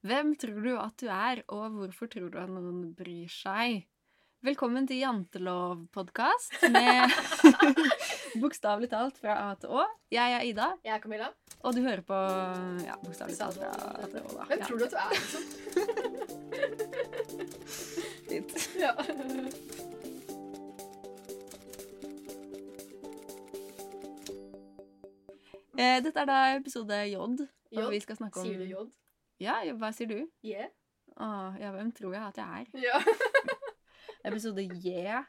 Hvem tror du at du er, og hvorfor tror du at noen bryr seg? Velkommen til Jantelov-podkast med bokstavelig talt fra A til Å. Jeg er Ida, Jeg er Camilla. og du hører på ja, bokstavelig talt fra A til Å, da. Hvem tror du at du er, liksom? Fint. Ja. Eh, Dette er da episode J, og J? vi skal snakke om Sier du J? Ja, hva sier du? Yeah. Åh, ja, hvem tror jeg at jeg er? Ja. Episode J.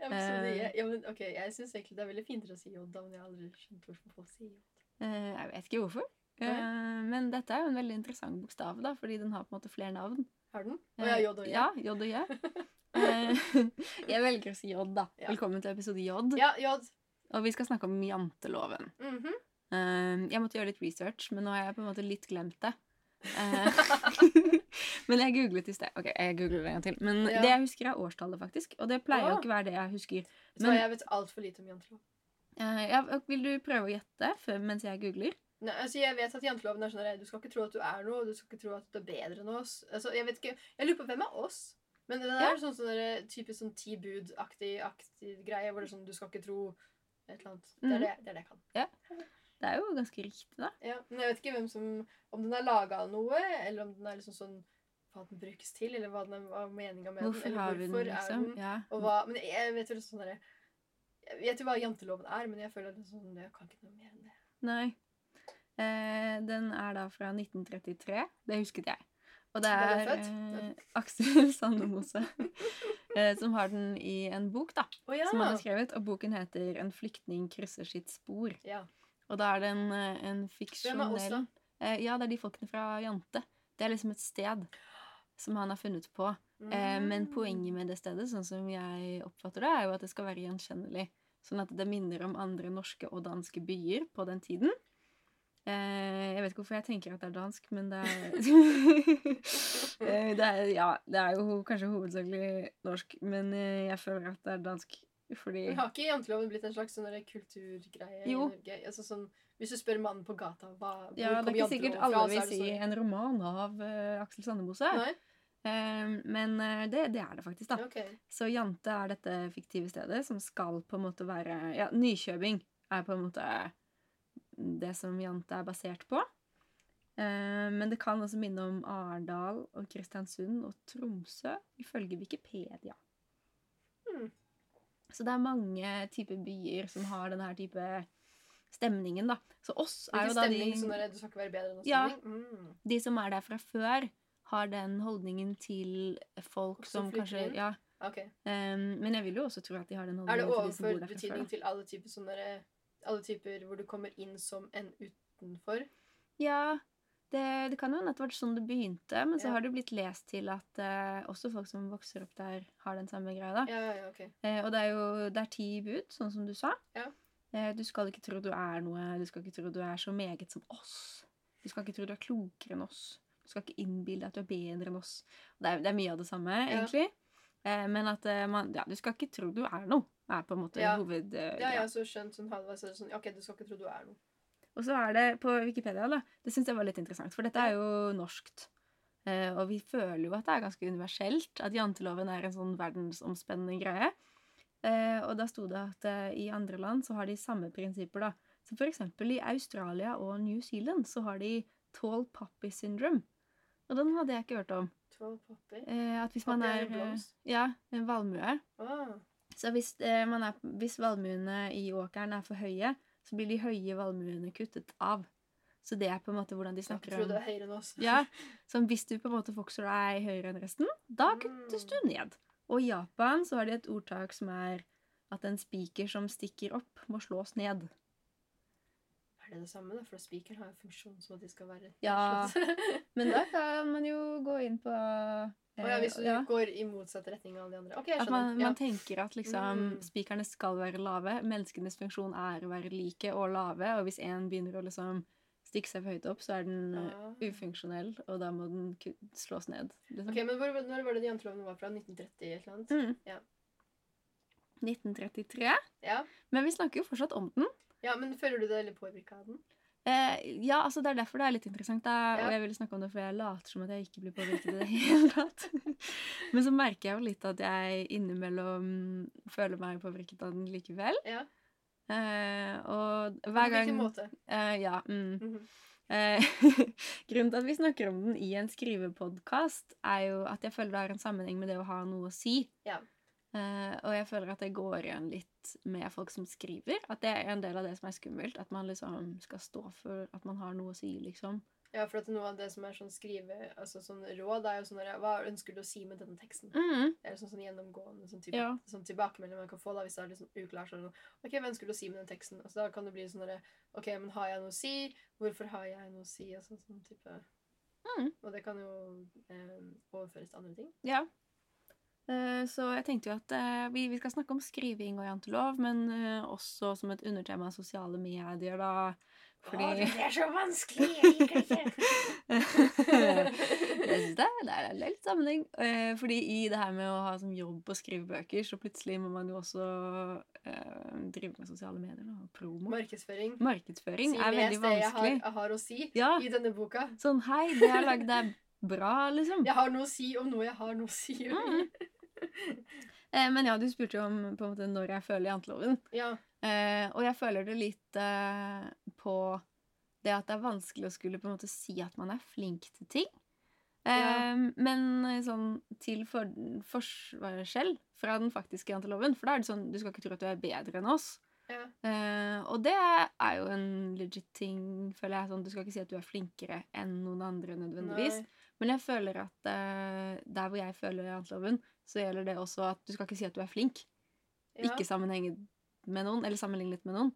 Ja, men, så det, Eh. ja, men, ok, jeg syns egentlig det er veldig fint å si J, da, men jeg har aldri skjønt hvorfor folk sier J. Eh, Jeg vet ikke hvorfor. Nei. Eh, Men dette er jo en veldig interessant bokstav, da, fordi den har på en måte flere navn. Har den? Å ja, Eh, J og J. Ja, J og J. Eh, Jeg velger å si J, da. Ja. Velkommen til episode J. Ja, J. Og vi skal snakke om janteloven. Mhm. Eh, Jeg måtte gjøre litt research, men nå har jeg på en måte litt glemt det. Eh, men jeg googlet i sted. Ok, jeg googler det en gang til. Men Ja. det jeg husker, er årstallet, faktisk. Og det pleier jo Ah. ikke være det jeg husker. Så Men- jeg vet altfor lite om jantelov. Eh, ja, vil du prøve å gjette før, mens jeg googler? Nei, altså Jeg vet at janteloven er sånn der, du skal ikke tro at du er noe, og du skal ikke tro at du er bedre enn oss. Altså, Jeg vet ikke, jeg lurer på hvem er oss? Men det Ja. er sånn, sånn der, typisk sånn ti bud-aktig aktig greie, hvor det er sånn du skal ikke tro et eller annet. Det Mhm. er det, det, er det jeg kan. Det er jo ganske riktig, da. Ja, men jeg vet ikke hvem som, om den er laga av noe, eller om den er liksom sånn hva den brukes til, eller hva den er hva er meninga med Hvorfor den. har Eller vi hvorfor den, liksom? er den Ja. og hva, Men jeg vet jo det er sånn derre Jeg vet jo hva janteloven er, men jeg føler at det er sånn, jeg kan ikke noe mer enn det. Nei. Eh, den er da fra 1933. Det husket jeg. Og det Da du er er født? eh, Aksel Sandemose eh, som har den i en bok, da. Å ja! Som han har skrevet. Og boken heter 'En flyktning krysser sitt spor'. ja. Og da er det en, eh, en Hvem er oss, da? fiksjonell eh, Ja, det er de folkene fra Jante. Det er liksom et sted som han har funnet på. Mm. Eh, men poenget med det stedet, sånn som jeg oppfatter det, er jo at det skal være gjenkjennelig. Sånn at det minner om andre norske og danske byer på den tiden. Eh, jeg vet ikke hvorfor jeg tenker at det er dansk, men det er Eh, det er, Ja, det er jo ho- kanskje hovedsakelig norsk, men eh, jeg føler at det er dansk fordi Men Har ikke janteloven blitt en slags sånn derre kulturgreie Jo. i Norge? Altså sånn, hvis du spør mannen på gata hva, hvor Ja, det kom er ikke sikkert janteloven alle vil fra, så er det si sånn- en roman av eh, Aksel Sandemose, Nei? eh, men eh, det, det er det faktisk, da. Ok. Så Jante er dette fiktive stedet som skal på en måte være Ja, Nykjøbing er på en måte det som Jante er basert på. Eh, Men det kan også minne om Arendal og Kristiansund og Tromsø, ifølge Wikipedia. Hmm. Så det er mange typer byer som har denne her type stemningen, da. Så oss er Hvilken jo da de stemning? Sånn derre du skal ikke være bedre enn oss? Ja. stemning? Mm. de som er der fra før, har den holdningen til folk Som som, flytter kanskje inn? Ja. Ok. Em, Ehm, men jeg vil jo også tro at de har den holdningen Er det til de som bor der overført fra før. betydning da. til alle typer sånne der- eh, Alle typer hvor du kommer inn som en utenfor? Ja, det, det kan jo hende at det var sånn det begynte, men så Ja. har det blitt lest til at eh, også folk som vokser opp der, har den samme greia. da. Ja, ja, ja, ok. Eh, og det er jo det er ti bud, sånn som du sa. Ja. Eh, du skal ikke tro du er noe, du skal ikke tro du er så meget som oss. Du skal ikke tro du er klokere enn oss. Du skal ikke innbille deg at du er bedre enn oss. Det er, det er mye av det samme, egentlig. Eh, men at eh, man Ja, du skal ikke tro du er noe, er på en måte Ja. hoved... eh, Det har greia. jeg også skjønt sånn halvveis. så er det Sånn, ok, du skal ikke tro du er noe. Og så er det på Wikipedia, da. Det syns jeg var litt interessant, for dette er jo norskt. Eh, og vi føler jo at det er ganske universelt, at janteloven er en sånn verdensomspennende greie. Eh, og da sto det at eh, i andre land så har de samme prinsipper, da. Så for eksempel i Australia og New Zealand så har de tall poppy syndrome. Og den hadde jeg ikke hørt om. Tall poppy. Eh, at hvis man Poppy er er en blomst. eh, Ja, en valmue. Ah, Så hvis, eh, man er, hvis valmuene i åkeren er for høye, så blir de høye valmuene kuttet av. Så det er på en måte hvordan de jeg snakker trodde om det var høyere enn oss. ja, så Hvis du på en måte vokser deg høyere enn resten, da kuttes du ned. Og i Japan så har de et ordtak som er at en spiker som stikker opp, må slås ned. Er det det samme, da? For spikeren har jo funksjon som at de skal være Ja. slått. Men da kan man jo gå inn på eh, Å ja, hvis du ja, går i motsatt retning av alle de andre. Ok, jeg At skjønner. man, ja. man tenker at liksom Mm. spikerne skal være lave. Menneskenes funksjon er å være like og lave. Og hvis én begynner å liksom stikke seg for høyt opp, så er den eh, Ah. ufunksjonell, og da må den ku- slås ned. Liksom. Ok, men hvor, Når var det de jantelovene var fra? 1930 et eller annet? Mm. Ja. 1933. Ja. Men vi snakker jo fortsatt om den. ja, men Føler du deg litt påvirka av den? Eh, ja, altså Det er derfor det er litt interessant. Da, Ja. Og jeg ville snakke om det, for jeg later som at jeg ikke blir påvirket i det hele tatt. Men så merker jeg jo litt at jeg innimellom føler meg påvirket av den likevel. Ja. Eh, og På hver gang hvilken måte? eh, Ja. Mm. Mhm. Eh, grunnen til at vi snakker om den i en skrivepodkast, er jo at jeg føler det har en sammenheng med det å ha noe å si. Ja. Eh, og jeg føler at det går igjen litt med folk som skriver. At det er en del av det som er skummelt. At man liksom skal stå for at man har noe å si, liksom. Ja, for at noe av det som er sånn skrive, altså sånn råd, er jo sånn der, Hva ønsker du å si med denne teksten? Mm. Det er sånn, sånn gjennomgående sånn, type, Ja. sånn tilbakemelding man kan få da, hvis det er liksom uklart. Sånn, ok, hva ønsker du å si med den teksten? Altså, da kan det bli sånn derre Ok, men har jeg noe å si? Hvorfor har jeg noe å si? Altså, sånn type. Mm. Og det kan jo eh, overføres til andre ting. Ja. Eh, Så jeg tenkte jo at eh, vi, vi skal snakke om skriving og jantelov, men eh, også som et undertema sosiale medier, da. Fordi det er så vanskelig! Jeg liker det Jeg ikke! synes det, det er en litt sammenheng. Eh, Fordi i det her med å ha som jobb å skrive bøker, så plutselig må man jo også eh, drive med sosiale medier da, og promo. Markedsføring. Markedsføring Si er les veldig det jeg har, vanskelig. jeg har å si Ja, i denne boka. sånn hei, det jeg lagde er bra, liksom. Jeg har noe å si om noe jeg har noe å si om. Mhm. Eh, Men ja, du spurte jo om på en måte når jeg føler janteloven. Ja. Eh, og jeg føler det litt eh, på det at det er vanskelig å skulle på en måte si at man er flink til ting. Eh, Ja. Men eh, sånn til for, forskjell fra den faktiske janteloven. For da er det sånn du skal ikke tro at du er bedre enn oss. ja. Eh, og det er jo en legit ting, føler jeg. Sånn, du skal ikke si at du er flinkere enn noen andre nødvendigvis. Nei. Men jeg føler at eh, der hvor jeg føler janteloven, så gjelder det også at du skal ikke si at du er flink. Ja. Ikke sammenhenge med noen, eller sammenlignet med noen.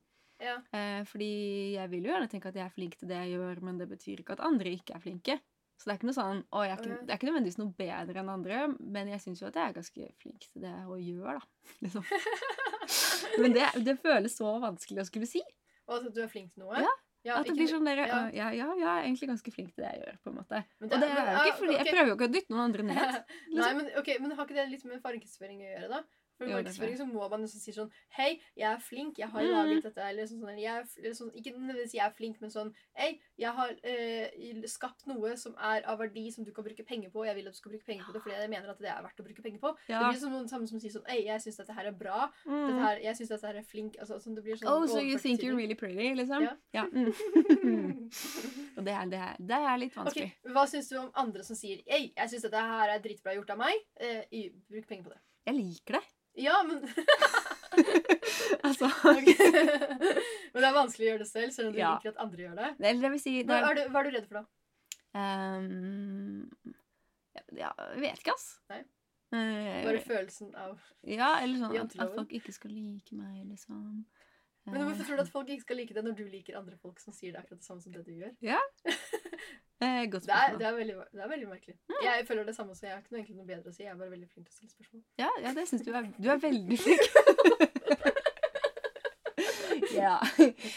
ja. Eh, fordi jeg vil jo gjerne tenke at jeg er flink til det jeg gjør, men det betyr ikke at andre ikke er flinke. Så det er ikke noe sånn, å, jeg er ikke, Ok. det er ikke nødvendigvis noe bedre enn andre, men jeg syns jo at jeg er ganske flink til det jeg gjør, da. Liksom. Men det, det føles så vanskelig å skulle si. Og at du er flink til noe. Ja, Ja, at det ikke blir mi- sånn der, ja. «Å, ja, ja, jeg er egentlig ganske flink til det jeg gjør, på en måte. men Og det er jo men- ikke ah, fordi, jeg ok. prøver jo ikke å dytte noen andre ned. Nei, men, ok, men har ikke det litt med markedsføring å gjøre, da? For Jo, det er markedsføring så må man nesten si sånn Hei, jeg er flink, jeg har Mm. laget dette. Eller sånn, sånn eller jeg er, fl- eller sånn Ikke nødvendigvis jeg er flink, men sånn Hei, jeg har eh, i- skapt noe som er av verdi, som du kan bruke penger på, og jeg vil at du skal bruke penger på det fordi jeg mener at det er verdt å bruke penger på. Det Ja. blir som noen samme som sier sånn Hei, jeg syns dette her er sånn bra. Dette Mm. her, jeg syns dette her er flink. Altså, sånn, det blir sånn Oh, so you overført think you're betydning. really pretty, liksom? Ja. Ja. Mm. Og det er, det, er, det er litt Ok, vanskelig. Hva syns du om andre som sier Ei, jeg syns dette her er dritbra gjort av meg. Eh, i- bruk penger på det. Jeg liker det. Ja, men Altså Ok. Men det er vanskelig å gjøre det selv, selv om du Ja. liker at andre gjør det. Eller det vil si det Hva er, er du, hva er du redd for, da? ehm, ja, Jeg vet ikke, ass. Nei. Eh, Bare følelsen av ja, eller sånn at, at janteloven? folk ikke skal like meg, liksom. Men Eh, hvorfor tror du at folk ikke skal like det når du liker andre folk som sier det akkurat det samme som det du gjør? eh, godt Det er, spørsmål. Mm. det er, veldig, det er veldig merkelig. Jeg føler det samme, så jeg har ikke noe, egentlig noe bedre å si. Jeg er bare veldig flink til å stille spørsmål. Ja, ja, det syns du er Du er veldig flink. ja.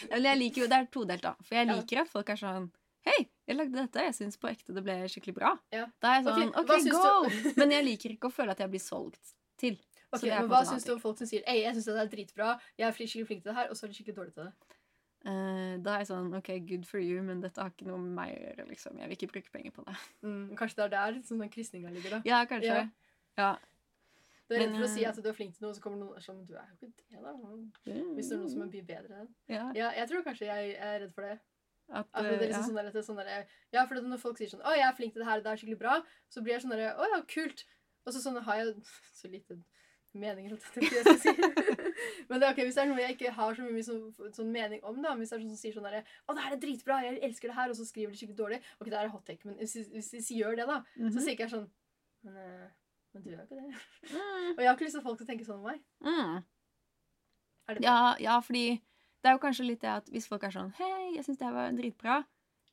Men jeg liker jo Det er todelt, da. For jeg Ja. liker at folk er sånn Hei, jeg lagde dette. Jeg syns på ekte det ble skikkelig bra. Ja. Da er jeg sånn Ok, OK, hva syns go! du- Men jeg liker ikke å føle at jeg blir solgt til. Ok, det er på en men måte Hva en annen syns du om folk som sier Ei, jeg syns dette er dritbra, jeg er fli- skikkelig flink til det her, og så er du skikkelig dårlig til det? Eh, da er jeg sånn OK, good for you, men dette har ikke noe med meg å gjøre, liksom. Jeg vil ikke bruke penger på det. Mm, kanskje det er der sånn den krysninga ligger, da. Ja, kanskje. Ja. Ja. Du er redd Men, for å si eh, at du er flink til noe, og så kommer noen og er sånn Du er jo ikke det, da. Hvis det er noen som er mye bedre enn ja, Ja, jeg tror kanskje jeg er redd for det. at, At det eh, er liksom ja. sånn der, at det er sånn der, ja, for når folk sier sånn 'Å, jeg er flink til det her, det er skikkelig bra', så blir jeg sånn derre 'Å ja, kult'. Og så sånn har jeg så lite mening holdt jeg på å si. Men det er ok, hvis det er noe jeg ikke har så mye sånn, sånn mening om, da, men hvis det er sånn som sier sånn derre 'Å, det her er dritbra, jeg elsker det her', og så skriver de skikkelig dårlig Ok, det her er hot take, men hvis, hvis de gjør det, da, så Mhm. sier ikke jeg sånn Men, eh, men du gjør jo ikke det. Mm. Og jeg har ikke lyst til at folk skal tenke sånn om meg. Mm. Er det bra? Ja, ja, fordi det er jo kanskje litt det at hvis folk er sånn Hei, jeg syns det her var dritbra.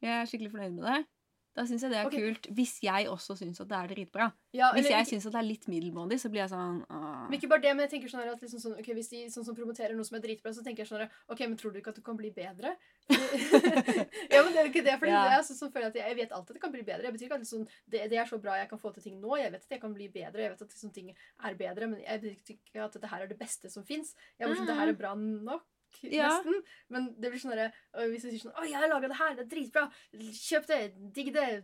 Jeg er skikkelig fornøyd med det. Da syns jeg det er Ok. kult. Hvis jeg også syns at det er dritbra. Ja, Hvis eller jeg ikke- syns at det er litt middelmådig, så blir jeg sånn «Åh». Men ikke bare det, men jeg tenker sånn her at liksom sånn, ok, hvis de sånn som promoterer noe som er dritbra, så tenker jeg sånn her Ok, men tror du ikke at du kan bli bedre? ja, men det er jo ikke det. For Ja. det er sånn som føler jeg at jeg, jeg vet alltid at det kan bli bedre. Jeg betyr ikke at liksom, det, det er så bra jeg kan få til ting nå. Jeg vet at jeg kan bli bedre. Jeg vet at liksom, ting er bedre, men jeg betyr ikke at dette her er det beste som fins. Jeg bare sånn Det her er bra nok. Mm. Ja. nesten. Men det blir sånn derre «Å, Hvis du sier sånn 'Å, jeg har laga det her. Det er dritbra. Kjøp det. Digg det.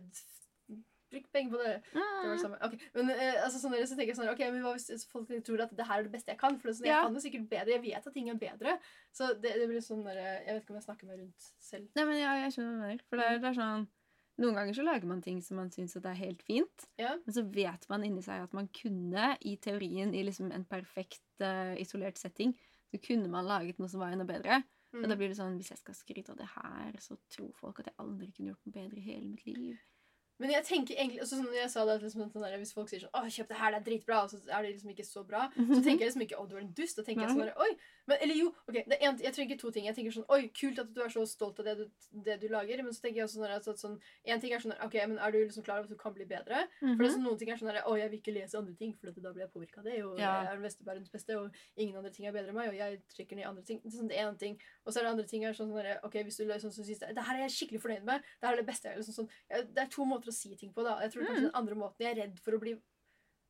Bruk penger på det.' Det Mm. var det samme. Ok, men eh, altså, sånn, der, så tenker jeg sånn, ok, men hva hvis folk tror at det her er det beste jeg kan? For det er sånn, Ja. Jeg kan jo sikkert bedre, jeg vet at ting er bedre. Så det, det blir sånn der, eh, Jeg vet ikke om jeg snakker meg rundt selv. Nei, men ja, jeg skjønner hva du mener. For det Mm. er, det er sånn Noen ganger så lager man ting som man syns er helt fint, Ja. men så vet man inni seg at man kunne, i teorien, i liksom en perfekt eh, isolert setting, så kunne man laget noe som var enda bedre. Og da Mm. blir det sånn Hvis jeg skal skryte av det her, så tror folk at jeg aldri kunne gjort noe bedre i hele mitt liv. Men jeg tenker egentlig, altså, sånn, jeg sa det at liksom, sånn der, Hvis folk sier sånn 'Å, kjøp det her, det er dritbra', og så er det liksom ikke så bra, så Mhm. tenker jeg liksom ikke 'Å, du er en dust'. Da tenker jeg sånn der, Oi! Men, eller jo, ok, det er en, jeg trenger ikke to ting. Jeg tenker sånn Oi, kult at du er så stolt av det du, det du lager. Men så tenker jeg også sånn der, at sånn, En ting er sånn der, OK, men er du liksom klar over at du kan bli bedre? For det Mhm. er sånn, noen ting er sånn der, å, jeg vil ikke lese andre ting, for at da blir jeg påvirka av det. Og Ja. jeg er den beste verdens beste, og ingen andre ting er bedre enn meg. Og jeg trykker ned andre ting. Det er sånn, det er en ting. Og så er det andre ting er sånn, sånn der, ok, hvis du liksom syns det, det her er jeg skikkelig fornøyd med. Det her er det beste. jeg- Liksom, sånn, ja, det er to måter å si ting på, da. Jeg tror kanskje Mm. den andre måten Jeg er redd for å bli,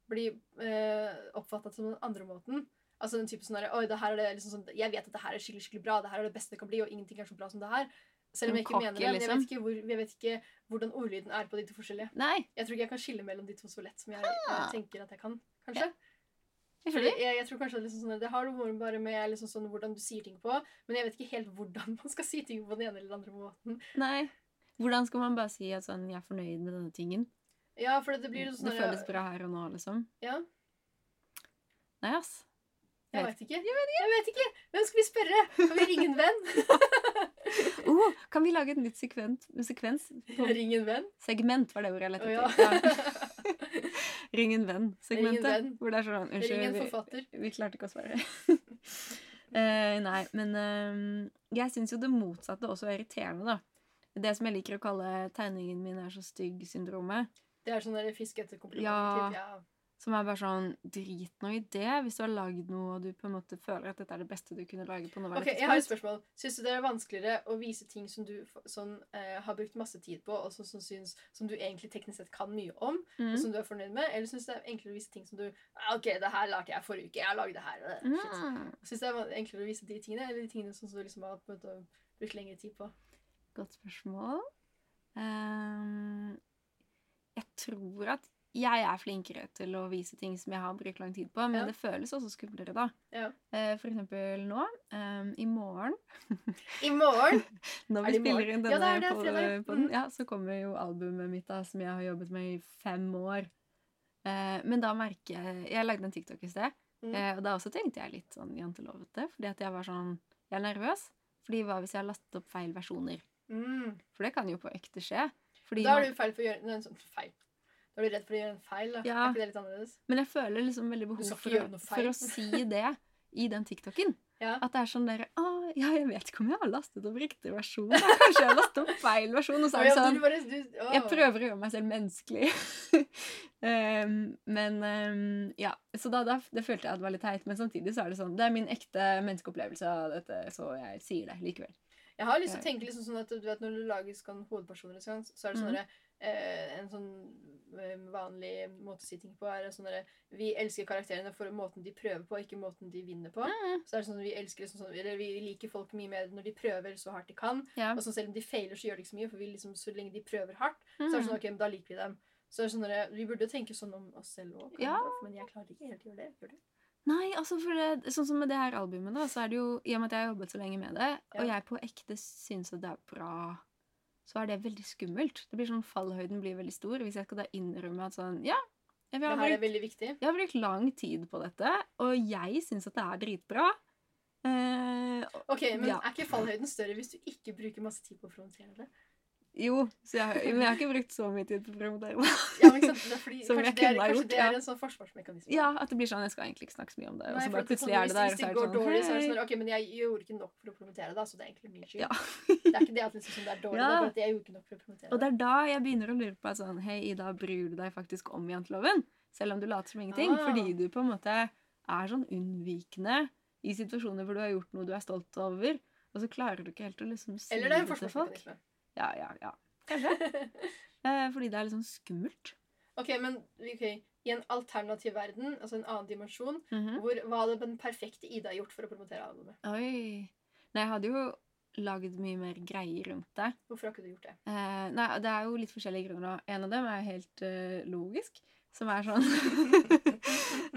bli eh, oppfattet som den andre måten. Altså den type sånn der, oi, det her er det liksom sånn, Jeg vet at det her er skikkelig skikkelig bra. Det her er det beste det kan bli, og ingenting er så bra som det her. Selv om jeg Som ikke mener det. cocky, men Jeg liksom. vet ikke, hvor, jeg vet ikke hvordan ordlyden er på de to forskjellige. sånn, Nei, Jeg tror ikke jeg kan skille mellom de to så lett som jeg Ah. eh, tenker at jeg kan. kanskje. jeg Fordi skjønner. jeg, jeg tror kanskje at liksom sånn, at Det har noe bare med liksom sånn, hvordan du sier ting på, men jeg vet ikke helt hvordan man skal si ting på den ene eller den andre måten. Nei. Hvordan skal man bare si at sånn, jeg er fornøyd med denne tingen? Ja, for det blir Det jo sånn der- føles bra her og nå, liksom. Ja, Nei, ass. jeg Vet vet ikke. Jeg vet ikke. Hvem skal vi spørre? Kan vi ringe en venn? Oh, kan vi lage et nytt sekvent, sekvens? På Ring en venn? segment var det ordet jeg lette Å ja. etter. Ja. Ring en venn-segmentet. Ring en venn. Hvor det er sånn Ring Unnskyld, en vi, forfatter. vi klarte ikke å svare. Eh, nei, men eh, jeg syns jo det motsatte også er irriterende, da. Det som jeg liker å kalle tegningen min er så stygg-syndromet. Det er sånn der fisk etter kompliment. Ja. typ. Ja. Som er bare sånn Drit nå i det. Hvis du har lagd noe og du på en måte føler at dette er det beste du kunne lage på nåværende Ok, jeg har et spørsmål. Syns du det er vanskeligere å vise ting som du f- sånn, eh, har brukt masse tid på, og som, som, syns, som du egentlig teknisk sett kan mye om, og Mm. som du er fornøyd med? Eller syns du det er enklere å vise ting som du «Ah, OK, det her lagde jeg forrige uke. Jeg lagde det her. øh, Shit. Mm. Syns du det er van- enklere å vise de tingene, eller de tingene som du liksom har på en måte brukt lengre tid på? Godt spørsmål. Ehm, jeg tror at jeg er flinkere til å vise ting som jeg har brukt lang tid på, men Ja. det føles også skumlere da. Ja. Eh, for eksempel nå, ehm, i morgen, I morgen! når Er vi det i morgen? spiller inn Ja, denne det er det, pod- fredag. podden, Mm. ja, så kommer jo albumet mitt da, som jeg har jobbet med i fem år. Eh, men da merker jeg, jeg lagde en TikTok i sted, Mm. Eh, og da også tenkte jeg litt sånn jantelovete, fordi at jeg var sånn Jeg er nervøs, fordi hva hvis jeg har lastet opp feil versjoner? Mm. For det kan jo på ekte skje. Fordi Da man- er du feil for å gjøre nei, sånn feil. Da er du redd for å gjøre en feil. Da. Ja. Er ikke det litt annerledes? Men jeg føler liksom veldig behov skal ikke for å, gjøre noe feil. for å si det i den TikToken. Ja. At det er sånn derre Å, ja, jeg vet ikke om jeg har lastet opp riktig versjon. Ja, Kanskje jeg har lastet opp feil versjon. Og så Å, er det ja, du sånn bare, du, å. Jeg prøver å gjøre meg selv menneskelig. Ehm, men ehm, ja. Så da, da det følte jeg at det var litt teit. Men samtidig så er det sånn Det er min ekte menneskeopplevelse av dette, så jeg sier det likevel. Jeg har lyst til Eh. å tenke liksom sånn at du vet når du lager sånn hovedpersoner, og sånn, så er det sånn Mhm. derre, eh, en sånn eh, vanlig måte å si ting på er sånn derre Vi elsker karakterene for måten de prøver på, ikke måten de vinner på. Så er det sånn Vi elsker liksom sånn, eller vi liker folk mye mer når de prøver så hardt de kan. Ja. Og sånn selv om de feiler, så gjør det ikke så mye, for vi liksom, så lenge de prøver hardt, Mm. så er Mhm. det sånn OK, men da liker vi dem. Så er det sånn derre Vi burde jo tenke sånn om oss selv òg, Ja. men jeg klarer ikke helt å gjøre det. Gjør du? Nei, altså for det, sånn som med det her albumet, da, så er det jo I og med at jeg har jobbet så lenge med det, og Ja. jeg på ekte syns at det er bra, så er det veldig skummelt. Det blir sånn Fallhøyden blir veldig stor hvis jeg skal da innrømme at sånn Ja, jeg, Det har, her er brukt, veldig viktig. jeg har brukt lang tid på dette, og jeg syns at det er dritbra. Eh, og- OK, men Ja. er ikke fallhøyden større hvis du ikke bruker masse tid på å frontere det? jo, så jeg, men jeg har ikke brukt så mye tid på å promotere det. Ja, men ikke sant? Det er fordi, Som kanskje jeg det er, kunne ha kanskje gjort, det er ja. en sånn forsvarsmekanisme. Ja, at det blir sånn Jeg skal egentlig ikke snakke så mye om det. Og Nei, så for bare at det er plutselig er det sånn, der. hvis- og Hvis det er går dårlig, så er det hei. sånn der, Ok, men jeg gjorde ikke nok for å promotere det, så det er egentlig min skyld. Ja. Det er ikke det at liksom, sånn, det er dårlig, det Ja. er bare at jeg gjorde ikke nok for å promotere Og det er da jeg begynner å lure på at sånn, hei, Ida, bryr du deg faktisk om janteloven? Selv om du later som ingenting. Ah. Fordi du på en måte er sånn unnvikende i situasjoner hvor du har gjort noe du er stolt over, og så klarer du ikke helt å liksom si Eller det er en det til folk. forsvarsmekanisme. Ja, ja, ja. Eh, fordi det er litt sånn skummelt. ok, men ok, i en alternativ verden, altså en annen dimensjon, Mhm. hvor, hva hadde den perfekte Ida gjort for å promotere albumet? Oi. Nei, jeg hadde jo lagd mye mer greier rundt det. Hvorfor har ikke du gjort det? Eh, nei, det er jo litt forskjellige grunner. da. En av dem er helt eh, logisk, som er sånn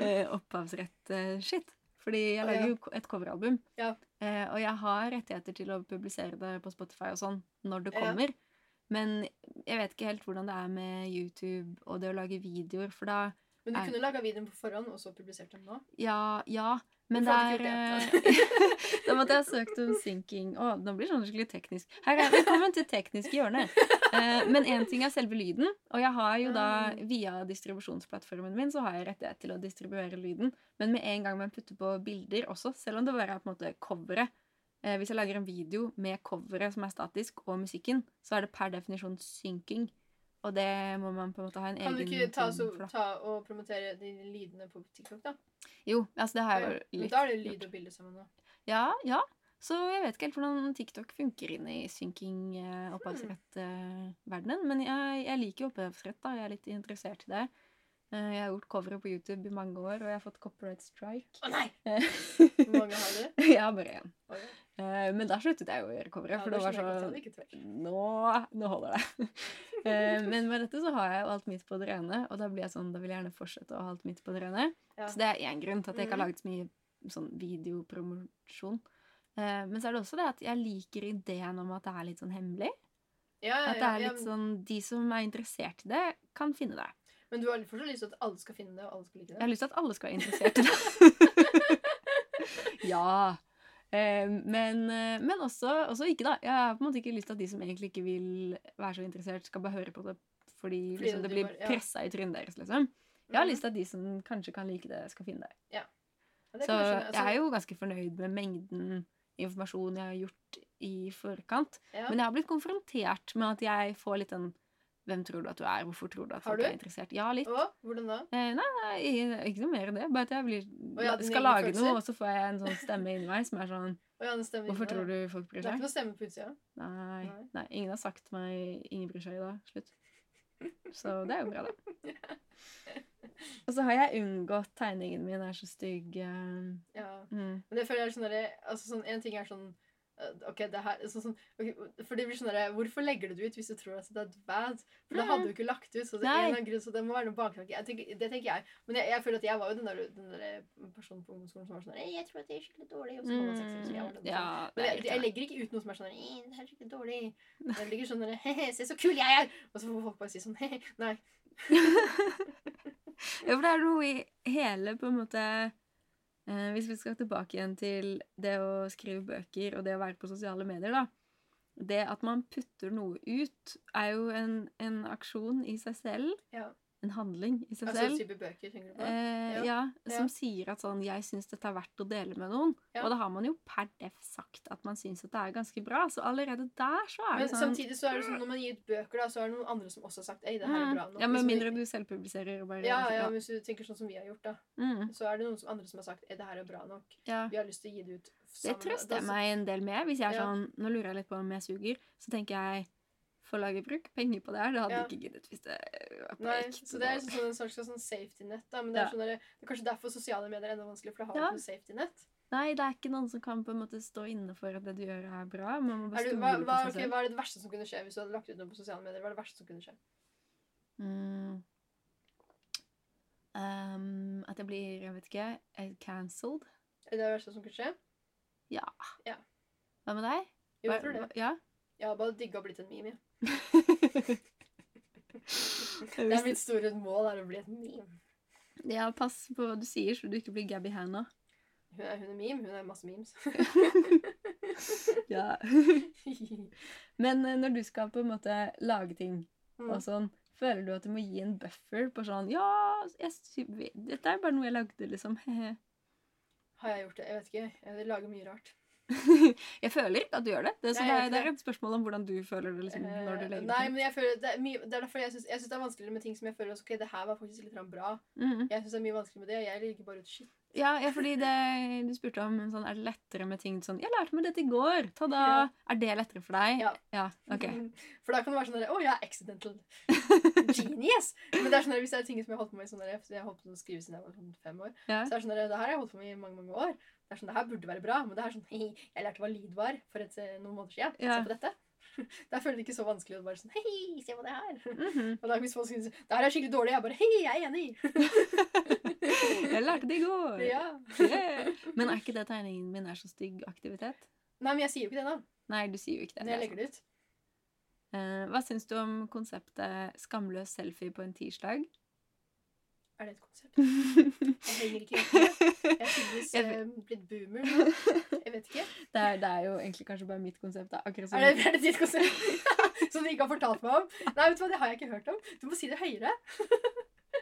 eh, opphavsrett-shit. Fordi jeg Å, lager ja. jo ko- et coveralbum. Ja. Eh, og jeg har rettigheter til å publisere det på Spotify og sånn når det Ja. kommer. Men jeg vet ikke helt hvordan det er med YouTube og det å lage videoer, for da Men du Nei. kunne laga videoen på forhånd og så publisert den nå? Ja, ja. Men Du det får ikke er eh, Da måtte jeg ha søkt om syncing. Å, nå blir det sånn skikkelig teknisk. Her er Velkommen til tekniske hjørne. Eh, men én ting er selve lyden. Og jeg har jo da, Mm. via distribusjonsplattformen min, så har jeg rettighet til å distribuere lyden. Men med en gang man putter på bilder også, selv om det bare er på en måte coveret eh, Hvis jeg lager en video med coveret som er statisk, og musikken, så er det per definisjon synking. Og det må man på en måte ha en Kan egen du ikke ta, ting så, for, da. ta og promotere de lydene på TikTok, da? Jo, altså det har jeg Ja, jo Men litt da er det gjort. lyd og bilde sammen nå. Ja, ja. Så jeg vet ikke helt hvordan TikTok funker inne i synking eh, opphavsrett-verdenen. Men jeg, jeg liker jo opphavsrett, da. Jeg er litt interessert i det. Eh, jeg har gjort covere på YouTube i mange år, og jeg har fått copyright strike. Å nei! Eh, Hvor mange har dere? jeg har bare én. Oi, ja. Eh, men da sluttet jeg jo å gjøre covere, Ja, for det var skjønner jeg godt sånn at det ikke tør. nå, nå holder det. Eh, men med dette så har jeg jo alt mitt på det rene, og da blir jeg sånn, da vil jeg gjerne fortsette å ha alt mitt på det rene. Ja. Så det er én grunn til at jeg ikke har Mhm. laget så mye sånn videopromosjon. Eh, men så er det også det at jeg liker ideen om at det er litt sånn hemmelig. Ja, ja, At det ja, er ja, litt sånn, De som er interessert i det, kan finne det. Men du har fortsatt lyst til at alle skal finne det, og alle skal like Jeg har det? lyst til at alle skal være interessert i det. ja. Eh, men, eh, men også, også ikke, da. Jeg har på en måte ikke lyst til at de som egentlig ikke vil være så interessert, skal bare høre på det fordi liksom, det det blir bare- ja. pressa i trynet deres, liksom. Jeg har Mhm. lyst til at de som kanskje kan like det, skal finne det. Ja, det Så kan jeg skjønne. jeg er Altså, jo ganske fornøyd med mengden informasjon jeg har gjort i forkant. ja. Men jeg har blitt konfrontert med at jeg får litt den Hvem tror du at du er? Hvorfor tror du at Har folk du? er interessert? Ja, litt. Og hvordan da? Eh, nei, nei, ikke noe mer enn det. Bare at jeg blir, ja, dine skal egne lage følelser? noe, og så får jeg en sånn stemme inni meg som er sånn Å, ja, det stemmer Hvorfor ikke, tror da. du folk bryr Det er seg? ikke noe stemme på utsida. Nei, Nei. nei. Ingen har sagt meg 'ingen bryr seg' i dag. Slutt. Så det er jo bra, da. Og så har jeg unngått tegningen min er så stygg. eh, Ja. Mm. Men det føler jeg er sånn derre altså, sånn, En ting er sånn eh, Ok, det her altså, sånn, ok, For det blir sånn derre Hvorfor legger du det ut hvis du tror at det er bad? For da hadde du ikke lagt ut. Så det, er en Nei. eller annen grunn, så det må være noe baktanke. Jeg tenker, det tenker jeg. Men jeg, jeg føler at jeg var jo den der, den der personen på ungdomsskolen som var sånn «Ei, Jeg tror at det er skikkelig dårlig. Og så var man seks år, så jeg var Mm, den, sånn. ja, Men det er jeg, litt jeg sånn. legger ikke ut noe som er sånn «Ei, Det her er skikkelig dårlig. Jeg ligger sånn der, He-he, se så kul jeg er! Og så får folk bare si sånn He-he. Nei. Ja, for det er noe i hele på en måte eh, Hvis vi skal tilbake igjen til det å skrive bøker og det å være på sosiale medier, da. Det at man putter noe ut, er jo en, en aksjon i seg selv. Ja. En handling i seg Altså selv. type bøker, tenker du på? Eh, Ja. ja, som Ja. sier at sånn 'Jeg syns dette er verdt å dele med noen'. Ja. Og da har man jo per def sagt at man syns at det er ganske bra. Så allerede der så er Men det sånn samtidig så er det sånn når man gir ut bøker, da, så er det noen andre som også har sagt Ei, det her er mm, bra. nok». Ja, med Hvis mindre du- du selvpubliserer og bare ja, ja, men hvis du tenker sånn som vi har gjort, da, Mm, så er det noen som andre som har sagt Ei, det her er bra nok. ja. Vi har lyst til å gi det ut Det sammen. trøster jeg Da- meg en del med. Hvis jeg er Ja. sånn, Nå lurer jeg litt på om jeg suger. Så tenker jeg forlaget bruk penger på det her. Det hadde Ja. jeg ikke giddet hvis det var på Nei, ekte. så Det er liksom sånn en slags sånn safety net. da, men Det er, Ja. sånn der, det er kanskje derfor sosiale medier er enda vanskelig, for da har du Ja. ikke noe safety net. Nei, det er ikke noen som kan på en måte stå inne for at det du gjør, er bra. Man må Er bare du, stole hva, hva, på seg ok, selv. hva er det verste som kunne skje hvis du hadde lagt ut noe på sosiale medier? Hva er det verste som kunne skje? Mm. Um, at jeg blir, jeg vet ikke, eh, cancelled. Er det det verste som kunne skje? Hva med deg? Jo, Hva- jeg tror det. hva- Ja? Jeg har bare digga å blitt en meme. jeg. Jeg Det er visste- mitt store mål er å bli et meme. ja, pass på hva du sier, så du ikke blir Gabby Hanna. Hun er, hun er meme. Hun er masse memes. Ja. mm. Men eh, når du skal på en måte lage ting, og sånn. Føler du at du må gi en buffer på sånn Ja, jeg, sy- dette er bare noe jeg lagde, liksom. Har jeg gjort det? Jeg vet ikke. Jeg lager mye rart. jeg føler ikke at du gjør det. Det, er så Nei, det, jeg er, gjør det ikke er et spørsmål om hvordan du føler det liksom, når du Eh, legger Nei, det men jeg føler det er, mye, det er derfor jeg syns jeg synes det er vanskeligere med ting som jeg føler også, Ok, det her var faktisk litt grann bra. til. Mhm. Jeg syns det er mye vanskeligere med det. Jeg legger bare ut shit. ja, ja, fordi det, du spurte om sånn, er det lettere med ting sånn 'Jeg lærte meg dette i går.' Ta-da! Ja. Er det lettere for deg? Ja. ok. For da kan det være sånn der, Å, jeg er accidental genius! Men det er sånn der, hvis det er ting som jeg har holdt på med i sånn der, for jeg har holdt på med å skrive siden jeg var sånn fem år, Ja. så er det sånn der, det her har jeg holdt på med i mange mange år. Det er sånn, det her burde være bra, men det er sånn hei, jeg lærte hva lyd var for et, eh, noen måneder siden. Ja. Se på dette. Der føler jeg det ikke så vanskelig å bare sånn hei, se på det her. Mhm. Og da hvis folk synes det her er skikkelig dårlig, jeg bare hei, jeg er enig. Jeg lærte det i går! ja. Yeah. Men er ikke det tegningen min er så stygg aktivitet? Nei, men jeg sier jo ikke det nå. Nei, du sier jo ikke det. Når jeg legger det ut. Eh, hva syns du om konseptet skamløs selfie på en tirsdag? Er det et konsept? Jeg henger ikke helt med. Jeg er tydeligvis Jeg eh, blitt boomer nå. Jeg vet ikke. Det er, det er jo egentlig kanskje bare mitt konsept. Da. Akkurat som Er det, er det ditt konsept? Som du ikke har fortalt meg om? Nei, vet du hva, det har jeg ikke hørt om. Du må si det høyere.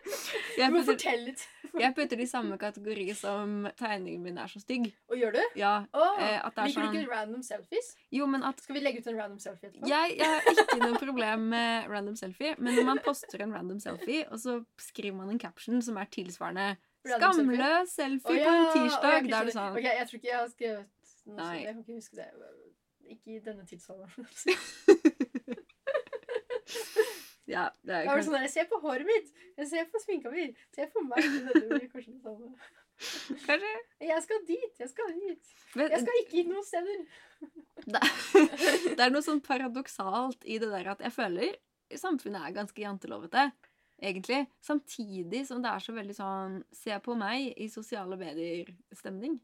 Du jeg, må putter, fortelle litt. jeg putter det i samme kategori som tegningen min er så stygg. Og gjør du? Ja, Åh, eh, at det er Ah, Liker du sånn ikke random selfies? Jo, men at Skal vi legge ut en random selfie etterpå? jeg, jeg har ikke noe problem med random selfie, men når man poster en random selfie, og så skriver man en caption som er tilsvarende Random selfie? 'Skamløs selfie Å, på en ja, å, jeg tirsdag', da er skjønner. det sånn Ok, jeg tror ikke jeg har skrevet noe Nei. sånt. Jeg kan ikke huske det. Ikke i denne tidsalderen. Ja, det er Jeg jo var kanskje sånn der, Se på håret mitt! Se på sminka mi! Se på meg! Det blir kanskje det samme. Kanskje? Jeg skal dit! Jeg skal dit! Men, Jeg skal ikke noen steder! det, det er noe sånn paradoksalt i det der at jeg føler samfunnet er ganske jantelovete, egentlig. Samtidig som det er så veldig sånn 'se på meg' i sosiale medier-stemning.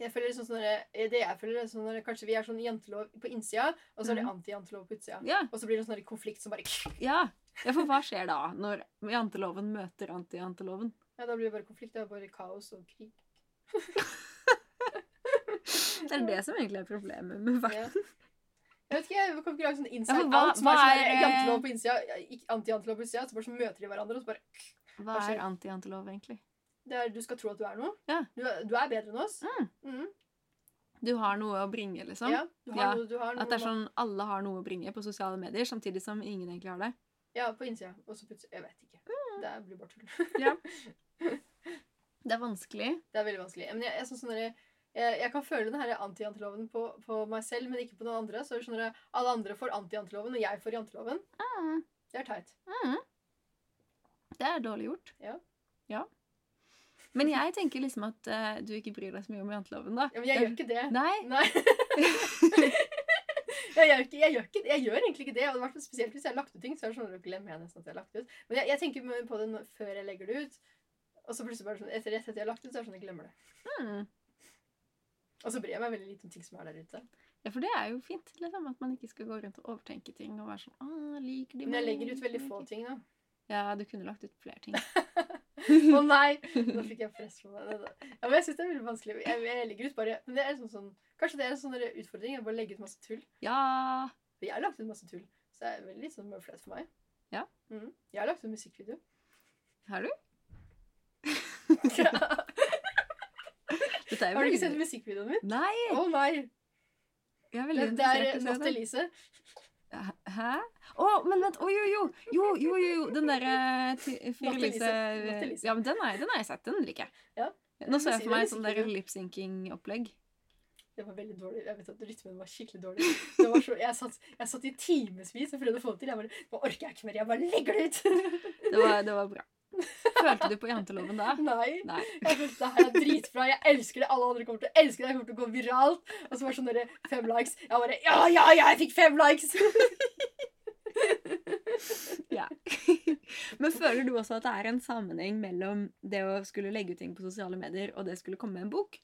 Jeg føler sånn sånn der, det jeg føler er sånn der, Kanskje vi er sånn jantelov på innsida, og så er det Mhm. anti-jantelov på utsida. Ja, Og så blir det en sånn der konflikt som bare Ja, ja. ja, for hva skjer da når janteloven møter antijanteloven? da blir det bare konflikt. Det er bare kaos og krig. Det er det som egentlig er problemet med verden. Ja. Jeg vet ikke, jeg kan ikke lage sånn Ja, inside for hva- out som er hva sånn der, er, eh, jantelov på innsida, ikke anti-jantelov på utsida, så bare så møter de hverandre, og så bare Hva Hva skjer? er antijantelov, egentlig? det er, Du skal tro at du er noe. Ja. Du, er- du er bedre enn oss. Mm. Mhm. Du har noe å bringe, liksom. Ja, du har Ja, noe, du har noe At det er sånn alle har noe å bringe på sosiale medier, samtidig som ingen egentlig har det. Ja, på innsida. Og så på utsida. Jeg vet ikke. Det blir bare tull. Det er vanskelig. Det er veldig vanskelig. Men jeg, jeg, synes sånn derre- jeg, jeg kan føle den her anti-janteloven på, på meg selv, men ikke på noen andre. Så er det sånn derre, alle andre får anti-janteloven, og jeg får janteloven. Mm. Det er teit. Det er dårlig gjort. Ja. Ja. Men jeg tenker liksom at eh, du ikke bryr deg så mye om janteloven, da. Ja, men jeg gjør ikke det. Nei. Nei. Jeg gjør, ikke, jeg, gjør ikke, jeg gjør egentlig ikke det. Og det hvert fall spesielt hvis jeg har lagt ut ting. så er det sånn, at glemmer jeg nesten at jeg har lagt det ut. Men jeg, jeg tenker mye på det nå- før jeg legger det ut. Og så plutselig bare sånn, etter rett etter jeg har lagt det ut, så er det sånn at jeg glemmer det. Mm. Og så bryr jeg meg veldig lite om ting som er der ute. Ja, for det er jo fint, liksom. At man ikke skal gå rundt og overtenke ting og være sånn Å, liker de Men jeg meg? legger ut veldig Liker de få meg ting nå. ikke?» Ja, du kunne lagt ut flere ting. Å nei! Nå fikk jeg press på meg. Ja, men jeg synes det er veldig vanskelig. Jeg, jeg legger ut bare Men det er sånn, sånn Kanskje det er en sånn der utfordring. Jeg bare legger ut masse tull. Ja. For jeg har lagt ut masse tull. Så det er veldig litt sånn mørflaut for meg. Ja. Mhm. Jeg har lagt ut musikkvideo. Har du? har Dette er du veldig- ikke sett musikkvideoen min? Nei! Å nei! Jeg er veldig Det, det interessert i er å se Not det. Elise. Hæ? Å, men vent! Å, jo, jo! Jo, jo, jo! jo. Den derre eh, Matte Lise. Matte Fyrilise Lise. Ja, men den har jeg- den har jeg sett. Den liker jeg. Ja. Nå så Men jeg si for det meg litt sånn sikkert, der ja. lip-synking-opplegg. Det var veldig dårlig. Jeg vet at rytmen var skikkelig dårlig. Det var så, jeg, satt, jeg satt i timevis og prøvde å få det til. Jeg bare, Nå orker jeg ikke mer. Jeg bare legger det ut! Det var, det var bra. Følte du på janteloven da? Nei. Nei. Jeg følte det her er dritbra. Jeg elsker det. Alle andre kommer til å elske det. Jeg kommer til å gå viralt. Og så var det sånn derre fem likes. Jeg bare Ja, ja, ja! Jeg fikk fem likes! Ja. Men føler du også at det er en sammenheng mellom det å skulle legge ut ting på sosiale medier, og det skulle komme med en bok?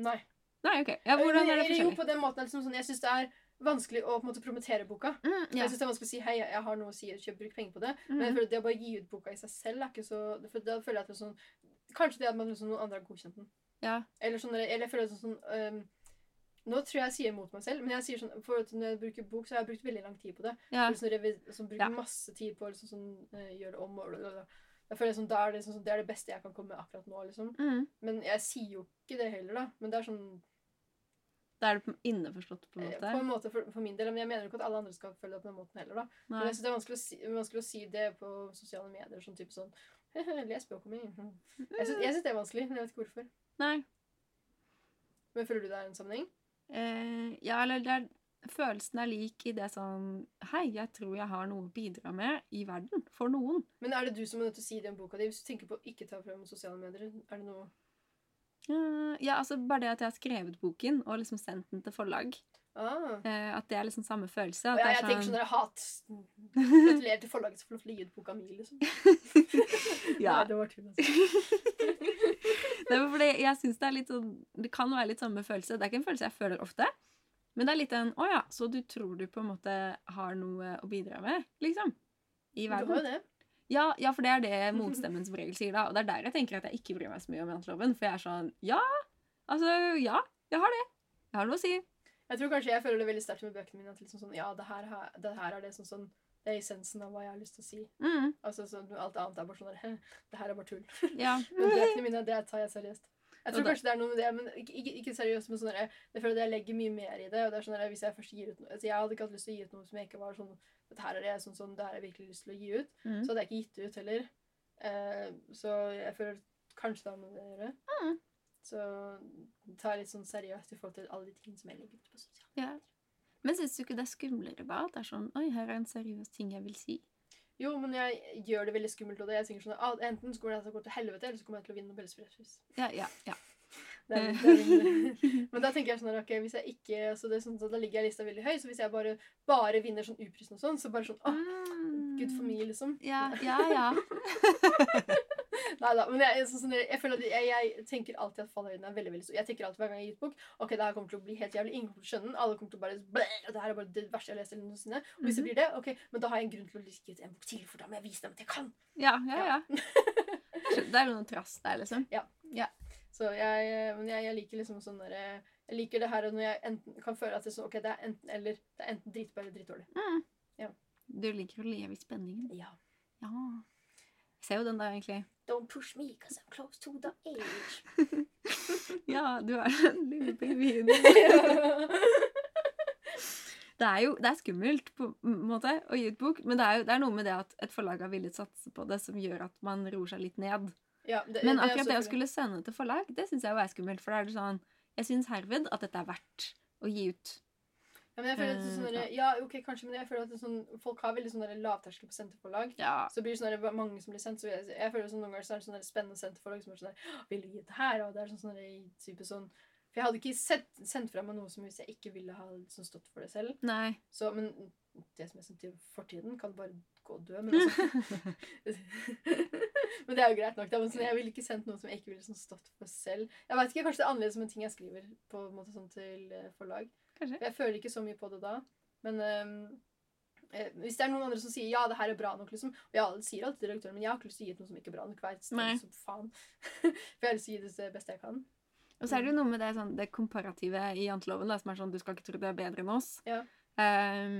Nei. Nei, OK. Ja, hvordan er det Eller Jo, forskjellig? på den måten er det liksom sånn Jeg syns det er vanskelig å på en måte promotere boka. Mm, ja. Jeg synes det er vanskelig å si hei, jeg har noe å si, kjøp, bruk penger på det. Men jeg Mm. føler at det å bare gi ut boka i seg selv er ikke så for Da føler jeg at det er sånn Kanskje det at man liksom, noen andre har godkjent den. ja. Eller, sånn, eller jeg føler det sånn øhm, Nå tror jeg jeg sier mot meg selv, men jeg sier sånn, for at når jeg bruker bok, så har jeg brukt veldig lang tid på det. ja. Eller sånn revi- Som bruker Ja. masse tid på å liksom, sånn, eh, gjøre det om og blablabla. Jeg føler sånn, da er det, sånn, sånn, det er det beste jeg kan komme med akkurat nå. liksom. Mm. Men jeg sier jo ikke det heller, da. Men det er sånn Da er det på- inneforstått, på en eh, måte? på en måte for, for min del. Men jeg mener jo ikke at alle andre skal føle det på den måten heller, da. Men Nei. jeg synes det er vanskelig å, si, vanskelig å si det på sosiale medier. Sånn type sånn Les boka mi. Jeg syns jeg synes det er vanskelig, men jeg vet ikke hvorfor. Mm, Nei. Men føler du det er en sammenheng? Eh, ja, eller det er, følelsen er lik i det sånn Hei, jeg tror jeg har noe å bidra med i verden. For noen. Men er det du som er nødt til å si det om boka di? Hvis du tenker på å ikke ta frem sosiale medier, er det noe Tja, Ja, altså Bare det at jeg har skrevet boken og liksom sendt den til forlag. Ah. Eh, at det er liksom samme følelse. At Og jeg, det jeg er tenker sånn sånn, dere hat Gratulerer til forlaget som får lov til å gi ut boka mi, liksom. ja. Nei, det var tull, altså. Nei, men fordi jeg synes Det er litt sånn, det kan være litt samme følelse. Det er ikke en følelse jeg føler ofte. Men det er litt en 'Å ja, så du tror du på en måte har noe å bidra med', liksom. I Du har jo verden. det. Ja, ja, for det er det motstemmen som regel sier, da. Og det er der jeg tenker at jeg ikke bryr meg så mye om janteloven. For jeg er sånn Ja, altså Ja, jeg har det. Jeg har noe å si. Jeg tror kanskje jeg føler det veldig sterkt med bøkene mine. At liksom sånn, ja, det her, har- det her er det som sånn Det er essensen av hva jeg har lyst til å si. Mm, Altså, sånn, Alt annet er bare sånn der, Det her er bare tull. ja. Men bøkene mine, det tar jeg seriøst. Og Jeg tror da- kanskje det er noe med det, men ikke, ikke, ikke seriøst, men sånn der, jeg føler at jeg legger mye mer i det. og det er sånn der, hvis Jeg først gir ut noe, altså jeg hadde ikke hatt lyst til å gi ut noe som jeg ikke var sånn Dette her er det, sånn, sånn, det her har jeg virkelig lyst til å gi ut. Mm. Så hadde jeg ikke gitt det ut heller. Eh, så jeg føler kanskje det har noe med det å gjøre. Mm. Så ta litt sånn seriøst i forhold til alle de tingene som jeg legger ut på sosiale Ja. Men syns du ikke det er skumlere bare at det er sånn Oi, her er en seriøs ting jeg vil si. Jo, men jeg gjør det veldig skummelt. Og det. Jeg tenker sånn, ah, Enten så kommer det til å gå til helvete, eller så kommer jeg til å vinne Nobels fredspris. Ja, ja, ja. Det er min- det er min- Men da tenker jeg sånn, ok, hvis jeg ikke, så det er sånn, så da ligger jeg lista veldig høy, så hvis jeg bare, bare vinner sånn uprisen og sånn, så bare sånn, åh, Mm. good for me, liksom. Ja, ja, ja. Neida, men jeg, jeg- sånn, sånn, jeg føler at jeg, jeg tenker alltid at fallhøyden er veldig, veldig stor. Jeg tenker alltid hver gang jeg gir ut bok, ok, det her kommer til å bli helt jævlig, ingen kommer til å skjønne den, alle kommer til å bare, blæ, og det her er bare det verste jeg har lest eller noensinne. Og hvis det blir det, ok, men da har jeg en grunn til å like ut en bok til, for da må jeg vise dem at jeg kan. Ja, ja, ja. Det er noen trass der, liksom. Så jeg, men jeg, jeg liker liksom sånn der, jeg liker det her når jeg enten kan føle at det er sånn, ok, det er enten, eller, det er enten dritbra eller dritdårlig. Mm. Ja. Du liker å leve i spenningen. Ja. Ja. Jeg ser jo den der, egentlig. Don't push me, cause I'm close to the age. Ja, du er den lille pingvinen. Det er jo det er skummelt på en måte å gi ut bok, men det er jo det er noe med det at et forlag har villet satse på det, som gjør at man roer seg litt ned. ja, det, Men er sånn- akkurat det å selvfølgelig- skulle sende til forlag, det syns jeg jo er skummelt. For da er det sånn Jeg syns herved at dette er verdt å gi ut. ja, men jeg føler at det er sånn Eh, der, ja, ok, kanskje, men jeg føler at det er sånn, folk har veldig sånn der lavterskel på senterforlag. Ja. Så blir det sånn der, mange som blir sendt, så jeg, jeg føler sånn noen ganger så er det sånn der spennende senterforlag som er sånn der, «Åh, vil du gi ut det her? Og det er sånn, sånn der, type sånn, for jeg hadde ikke sett, sendt frem meg noe som hvis jeg ikke ville ha liksom, stått for det selv. Nei. Så, men det som jeg sendte i fortiden kan bare gå og dø, men altså. men det er jo greit nok. Da. Men sånn, jeg ville ikke sendt noe som jeg ikke ville sånn, stått for selv. Jeg vet ikke, Kanskje det er annerledes som en ting jeg skriver på en måte sånn til eh, forlag. Kanskje. Jeg føler ikke så mye på det da. Men ehm, eh, hvis det er noen andre som sier ja, det her er bra nok, liksom Og jeg sier alltid til redaktøren, men jeg har ikke lyst til å gi ut noe som ikke er bra nok. Hver Nei. sted, så faen. For jeg har lyst til å gi det det beste jeg kan. Og så er det jo noe med det, sånn, det komparative i janteloven, da, som er sånn du skal ikke tro du er bedre enn oss. Ja. Ehm,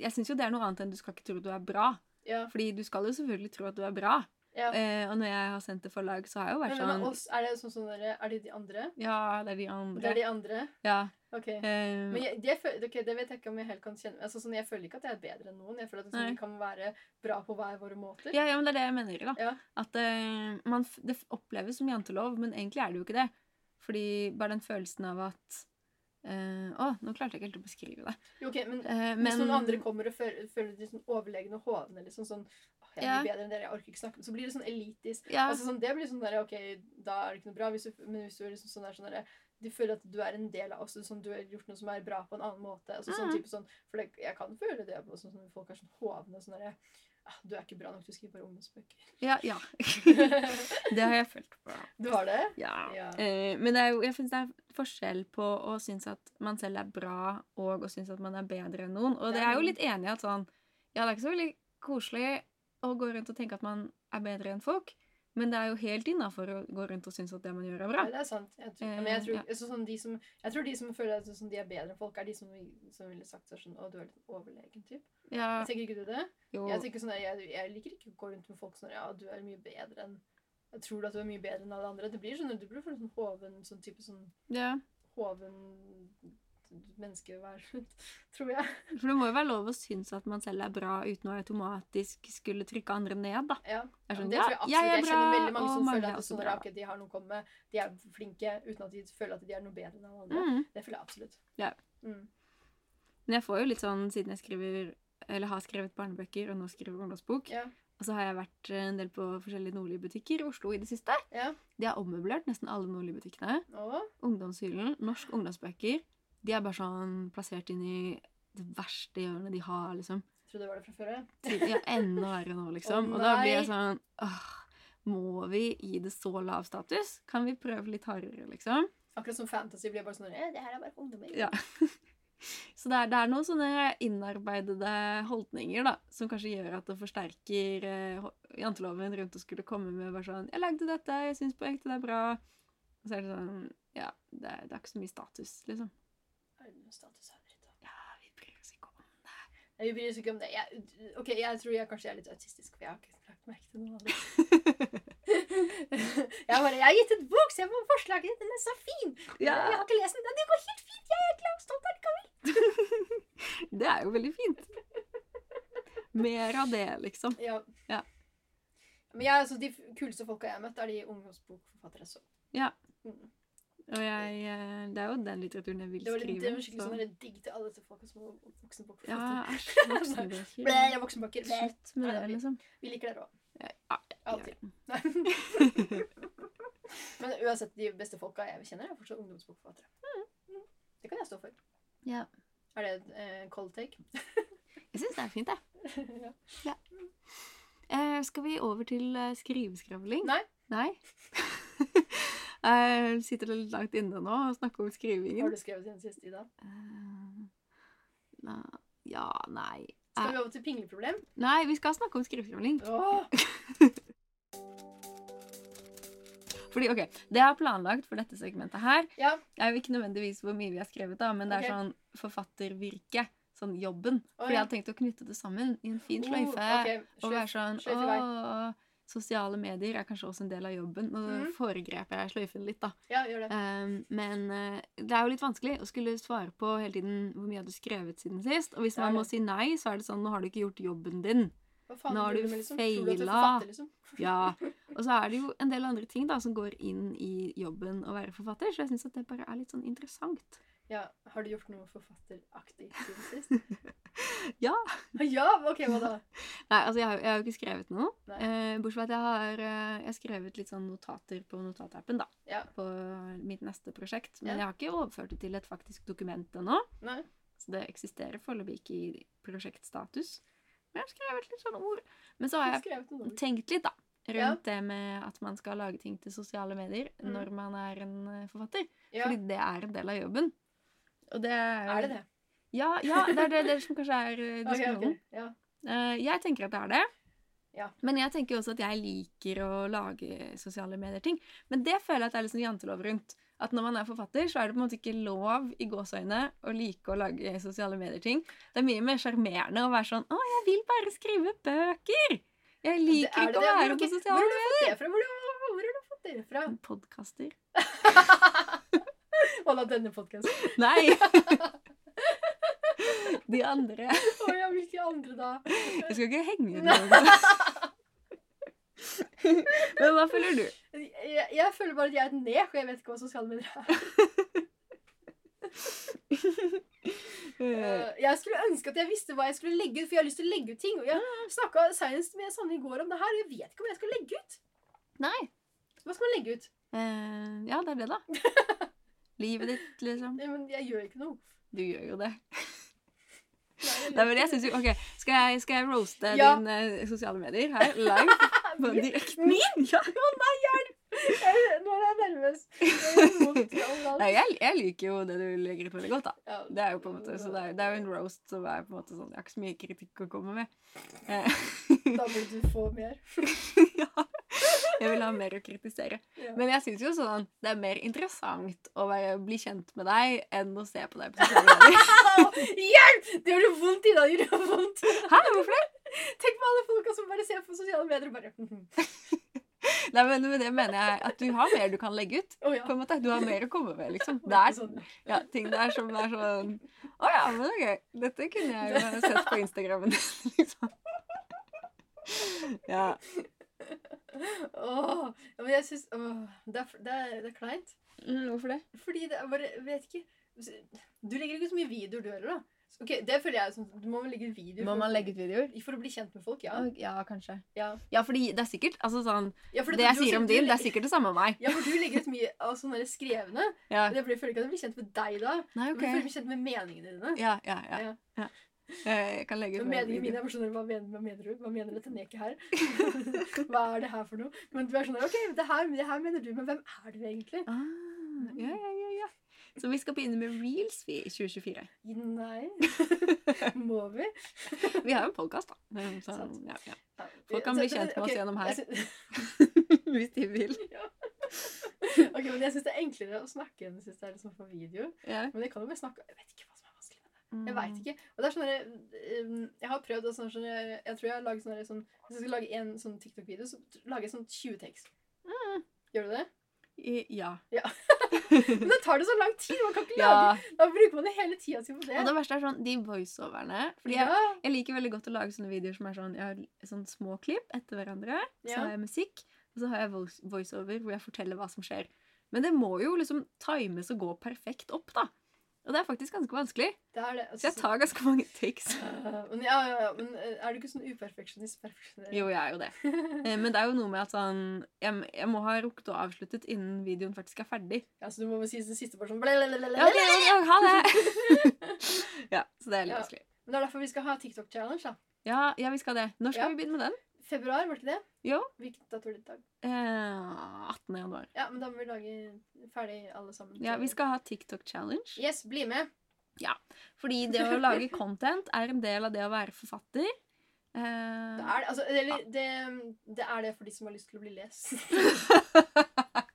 jeg syns jo det er noe annet enn du skal ikke tro du er bra. Ja. Fordi du skal jo selvfølgelig tro at du er bra. ja. Eh, og når jeg har sendt til forlag, så har jeg jo vært Men hvem sånn er oss? Er det sånn som dere? Er det de andre? Ja, det er de andre. Det er de andre? Ja. Ok. ehm, Men jeg, det, føl- ok, det vet jeg ikke om jeg helt kan kjenne altså, sånn, Jeg føler ikke at jeg er bedre enn noen. Jeg føler at sånn, Nei. vi kan være bra på hver våre måter. ja, ja, men det er det jeg mener. da. Ja. At eh, man f Det f- oppleves som jantelov, men egentlig er det jo ikke det. Fordi bare den følelsen av at eh, Å, nå klarte jeg ikke helt å beskrive det. Jo, ok, men, Eh, hvis men noen andre kommer og føler, føler de sånn overlegne og hovne liksom, sånn, «Åh, jeg Ja. blir bedre enn dere, jeg orker ikke snakke med Så blir det sånn elitisk. ja, Altså, sånn, det blir sånn der, ok, Da er det ikke noe bra. Hvis du, men hvis du er liksom sånn der, sånn der, de føler at du er en del av oss, sånn, du har gjort noe som er bra på en annen måte. Altså, sånn Mhm. type sånn, For det, jeg kan føle det på sånn, sånn, folk er sånn hovne. Sånn der, «Ah, du er ikke bra nok, du skriver bare ungdomsbøker. ja, ja. det har jeg følt på. du har det? Ja. Ja. Eh, men det er jo, jeg synes det er forskjell på å synes at man selv er bra, og å synes at man er bedre enn noen. Og det er jo litt enig i at sånn Ja, det er ikke så veldig koselig å gå rundt og tenke at man er bedre enn folk, men det er jo helt innafor å gå rundt og synes at det man gjør, er bra. Ja, det er sant. Jeg tror, men jeg Eh, tror, ja. altså, sånn, de som, jeg tror de som føler at sånn, de er bedre enn folk, er de som, som ville sagt seg sånn Å, du er litt overlegen, typ. Ja, Jeg tenker ikke du det? jo. Jeg, tenker sånn, der, jeg, jeg liker ikke å gå rundt med folk sånn Ja, du er mye bedre enn Jeg tror du at du er mye bedre enn alle andre. Det blir sånn, Du blir sånn hoven sånn type sånn Ja. hoven menneske hver rundt, tror jeg. For det må jo være lov å synes at man selv er bra uten å automatisk skulle trykke andre ned, da. Ja. Jeg skjønner, det ja, tror jeg absolutt. jeg Jeg, er kjenner bra, veldig og mange som mange er føler at det er også sånn, der, bra. ok, de har noe å komme med, de er flinke, uten at de føler at de er noe bedre enn alle andre. Mm. Det føler jeg absolutt. Ja. Mm. Men jeg får jo litt sånn, siden jeg skriver, eller har skrevet barnebøker, og nå skriver ungdomsbok, Ja. Og Og så har jeg vært eh, en del på forskjellige Nordli-butikker i Oslo i det siste. Ja. De har ommøblert nesten alle Nordli-butikkene. Å, Ungdomshyllen, norsk ungdomsbøker. De er bare sånn plassert inn i det verste hjørnet de har, liksom. jeg trodde det var det fra før, ja. Til- Ja, enda verre nå, liksom. Å, Og da blir nei. jeg sånn åh, Må vi gi det så lav status? Kan vi prøve litt hardere, liksom? Akkurat som fantasy blir bare sånn eh, Det her er bare for ungdommer. Ja. Så det er, det er noen sånne innarbeidede holdninger da, som kanskje gjør at det forsterker eh, ho- janteloven rundt å skulle komme med bare sånn 'Jeg lagde dette. Jeg syns på ekte det er bra.' Og så er det sånn Ja, det er, det er ikke så mye status, liksom. Er det noen status her, dritt, da? Ja, vi bryr oss ikke om Nei, Vi bryr oss ikke om det. Jeg, ok, jeg tror jeg kanskje er litt autistisk, for jeg har ikke lagt merke til noe av det. jeg bare, jeg har gitt et bok, se på forslaget ditt, den er så fin! Jeg Ja, har ikke lest den, det går helt fint! Jeg er glad og stolt av det. det er jo veldig fint. Mer av det, liksom. Ja. Ja. Men jeg, altså, de f- kuleste folka jeg har møtt, er de ungdomsbokforfattere. Så. Ja. Mm. Og jeg, eh, det er jo den litteraturen jeg vil Det var, litt, det skrive. var skikkelig så- sånn der digg til alle disse folka som er voksenbokforfattere. Ja, æsj. Blæ, voksenbøker. jeg er voksenbakker. Blæ. Slutt med det, liksom. Vi liker dere òg. Ja, Alltid. Nei. Men uansett, de beste folka jeg kjenner, er fortsatt ungdomsbokforfattere. Mm. Det kan jeg stå for. Ja. Er det en eh, cold take? Jeg syns det er fint, jeg. ja. Eh, skal vi over til eh, skriveskravling? Nei. Nei? Eh, sitter det litt langt inne nå og snakker om Har skrivingen? du skrevet siden sist, Ida? Eh, na, ja, nei Skal vi over til pingleproblem? Nei, vi skal snakke om skriveskravling. Åh! Fordi, ok, Det jeg har planlagt for dette segmentet her, Ja. er jo ikke nødvendigvis hvor mye vi har skrevet, da, men det er Ok. sånn forfattervirke. Sånn jobben. Å, For jeg ja. hadde tenkt å knytte det sammen i en fin Oh, sløyfe. ok, Og sløyf- være sånn sløyf i vei. Å, sosiale medier er kanskje også en del av jobben. Nå Mhm. foregrep jeg sløyfen litt, da. Ja, gjør det. Um, men eh, det er jo litt vanskelig å skulle svare på hele tiden hvor mye har du skrevet siden sist. Og hvis Det er man må det. si nei, så er det sånn Nå har du ikke gjort jobben din. Hva faen nå har driver du med, liksom? Tror du at du er feila. forfatter, liksom? Ja. Og så er det jo en del andre ting da som går inn i jobben å være forfatter, så jeg syns at det bare er litt sånn interessant. Ja, Har du gjort noe forfatteraktig siden sist? Ja. ja? Ok, hva da? Nei, altså jeg har, jeg har jo ikke skrevet noe. Nei. Eh, bortsett fra at jeg har, eh, jeg har skrevet litt sånn notater på notatappen, da. Ja. På mitt neste prosjekt. Men Ja. jeg har ikke overført det til et faktisk dokument ennå. Nei? Så det eksisterer foreløpig ikke i prosjektstatus. Men jeg har skrevet litt sånne ord. Men så har Har du jeg skrevet noe? dårlig? tenkt litt, da. Ja. Rundt det med at man skal lage ting til sosiale medier Mm. når man er en eh, forfatter. Ja. Fordi det er en del av jobben. Og det er, Er det det? Ja, ja, det er det, det som kanskje er eh, Ok, diskusjonen. ok. Ja. Eh, Jeg tenker at det er det. Ja. Men jeg tenker også at jeg liker å lage sosiale medier-ting. Men det føler jeg at det er litt sånn jantelov rundt. At når man er forfatter, så er det på en måte ikke lov i gåseøyne å like å lage sosiale medier-ting. Det er mye mer sjarmerende å være sånn 'Å, jeg vil bare skrive bøker!' Jeg liker Er det ikke å det? være på Hvor- Hvor sosiale har du fått det fra? Hvor, har- hvor har du fått det fra? Podkaster? Å, la denne podkasten. Nei! De andre. Å ja, hvilke andre da? Jeg skal ikke henge ut noen. Men hva føler du? Jeg, jeg føler bare at jeg er et nek, og jeg vet ikke hva sosiale medier er. Eh, Eh, Jeg skulle ønske at jeg visste hva jeg skulle legge ut, for jeg har lyst til å legge ut ting. Og Ah. jeg snakka seinest med Sanne i går om det her, og jeg vet ikke hva jeg skal legge ut. Nei. Hva skal man legge ut? Eh, ja, det er det, da. Livet ditt, liksom. Nei, Men jeg gjør ikke noe. Du gjør jo det. Nei, jeg Nei, gjør men jeg synes jo, ok, Skal jeg, skal jeg roaste Ja. dine sosiale medier her live? På ikke. direkten? Ja. Jeg- Nå er jeg nervøs. Jeg gjør vondt i overalt. Nei, jeg, jeg liker jo det du legger ut veldig godt, da. Ja. Det er jo på en måte, så det er, det er jo en roast som er på en måte sånn Jeg har ikke så mye kritikk å komme med. Eh, Da må du få mer. ja. Jeg vil ha mer å kritisere. Ja. Men jeg syns jo sånn det er mer interessant å være, bli kjent med deg enn å se på deg på sosiale medier. Au! Hjelp! Det gjør det vondt, Ida. Det gjør det vondt. Hæ, hvorfor det? Tenk på alle folka som bare ser på sosiale medier og bare «Mhm». Å Nei, men med det mener jeg at du har mer du kan legge ut. ja. på en måte. Du har mer å komme med, liksom. Det Det er er ikke sånn. ja, ting der som er sånn Å ja, men ok. Dette kunne jeg jo ha sett på Instagrammen, liksom. Ja. Åh, ja, men jeg syns åh, det, er, det, er, det er kleint. hvorfor det? Fordi det er bare Vet ikke Du legger ikke ut så mye videoer, du heller, da. Ok, Det føler jeg som Du må vel legge ut videoer. Må for- man legge ut videoer? For å bli kjent med folk, ja. Å, Ja, kanskje. ja. Ja, fordi det er sikkert altså sånn, ja for Det jeg sier om din, det er sikkert sikkert det samme om meg. Ja, for du legger ut mye av sånne der skrevne. Ja. Men Jeg føler ikke at jeg blir kjent med deg da. Nei, Jeg OK. føler jeg blir kjent med meningene dine. Ja, ja, ja. Ja. ja. Eh, Jeg kan legge ut Og mer Meningene mine videoer. er bare sånn der, hva mener, hva mener du? Hva mener dette neket her? Hva er det her for noe? Men du er sånn der, OK, det her, det her mener du, men hvem er du egentlig? Ah, ja, ja, ja, ja. Så vi skal begynne med reels vi i 2024. Nei. Må vi? Vi har jo en podkast, da. Men Sånn, Sant. ja, ja. Ja. Folk kan bli Så- kjent med oss ok, gjennom her. jeg sy- Hvis de vil. Ok, men Jeg syns det er enklere å snakke enn jeg synes det er liksom på video. Ja. Men jeg kan jo bare snakke Jeg vet ikke hva som er vanskelig. Mm. Jeg vet ikke. Og det er sånn derre, um, Jeg har prøvd og sånn, sånn, jeg, jeg tror jeg har laget sånn derre sånn Hvis jeg skal lage en sånn TikTok-video, så t- lager jeg sånn 20 tekst. Mm. Gjør du det? I- Ja. Men det tar det så lang tid! Man kan ikke lage ja. Da bruker man det hele tida si på det. Og det verste er sånn de voiceoverne. Fordi jeg, ja, jeg liker veldig godt å lage sånne videoer som er sånn Jeg har sånn små klipp etter hverandre. Så ja. har jeg musikk, og så har jeg voice- voiceover hvor jeg forteller hva som skjer. Men det må jo liksom times og gå perfekt opp, da. Og det er faktisk ganske vanskelig. Det er det. Så jeg tar ganske mange takes. Øh, men, ja, ja, ja, men øh, er du ikke sånn uperfeksjonist? Perfeksjonist? Jo, jeg er jo det. Eh, Men det er jo noe med at sånn Jeg, jeg må ha rukket å avsluttet innen videoen faktisk er ferdig. Ja, så du må bare si det siste bare sånn Ja, det, ja, ha det! Ja, så det er litt Ja. vanskelig. Men det er derfor vi skal ha TikTok-challenge, da. Ja, ja, vi skal det. Når skal Ja. vi begynne med den? Februar, var det ikke det? Jo. Hvilken dato er det i dag? Eh, 18. januar. Ja, men da må vi lage ferdig alle sammen. Ja, vi skal ha TikTok challenge. Yes, bli med! Fordi det å lage content er en del av det å være forfatter. Eh, Det er det, altså, eller, det, det er det for de som har lyst til å bli lest.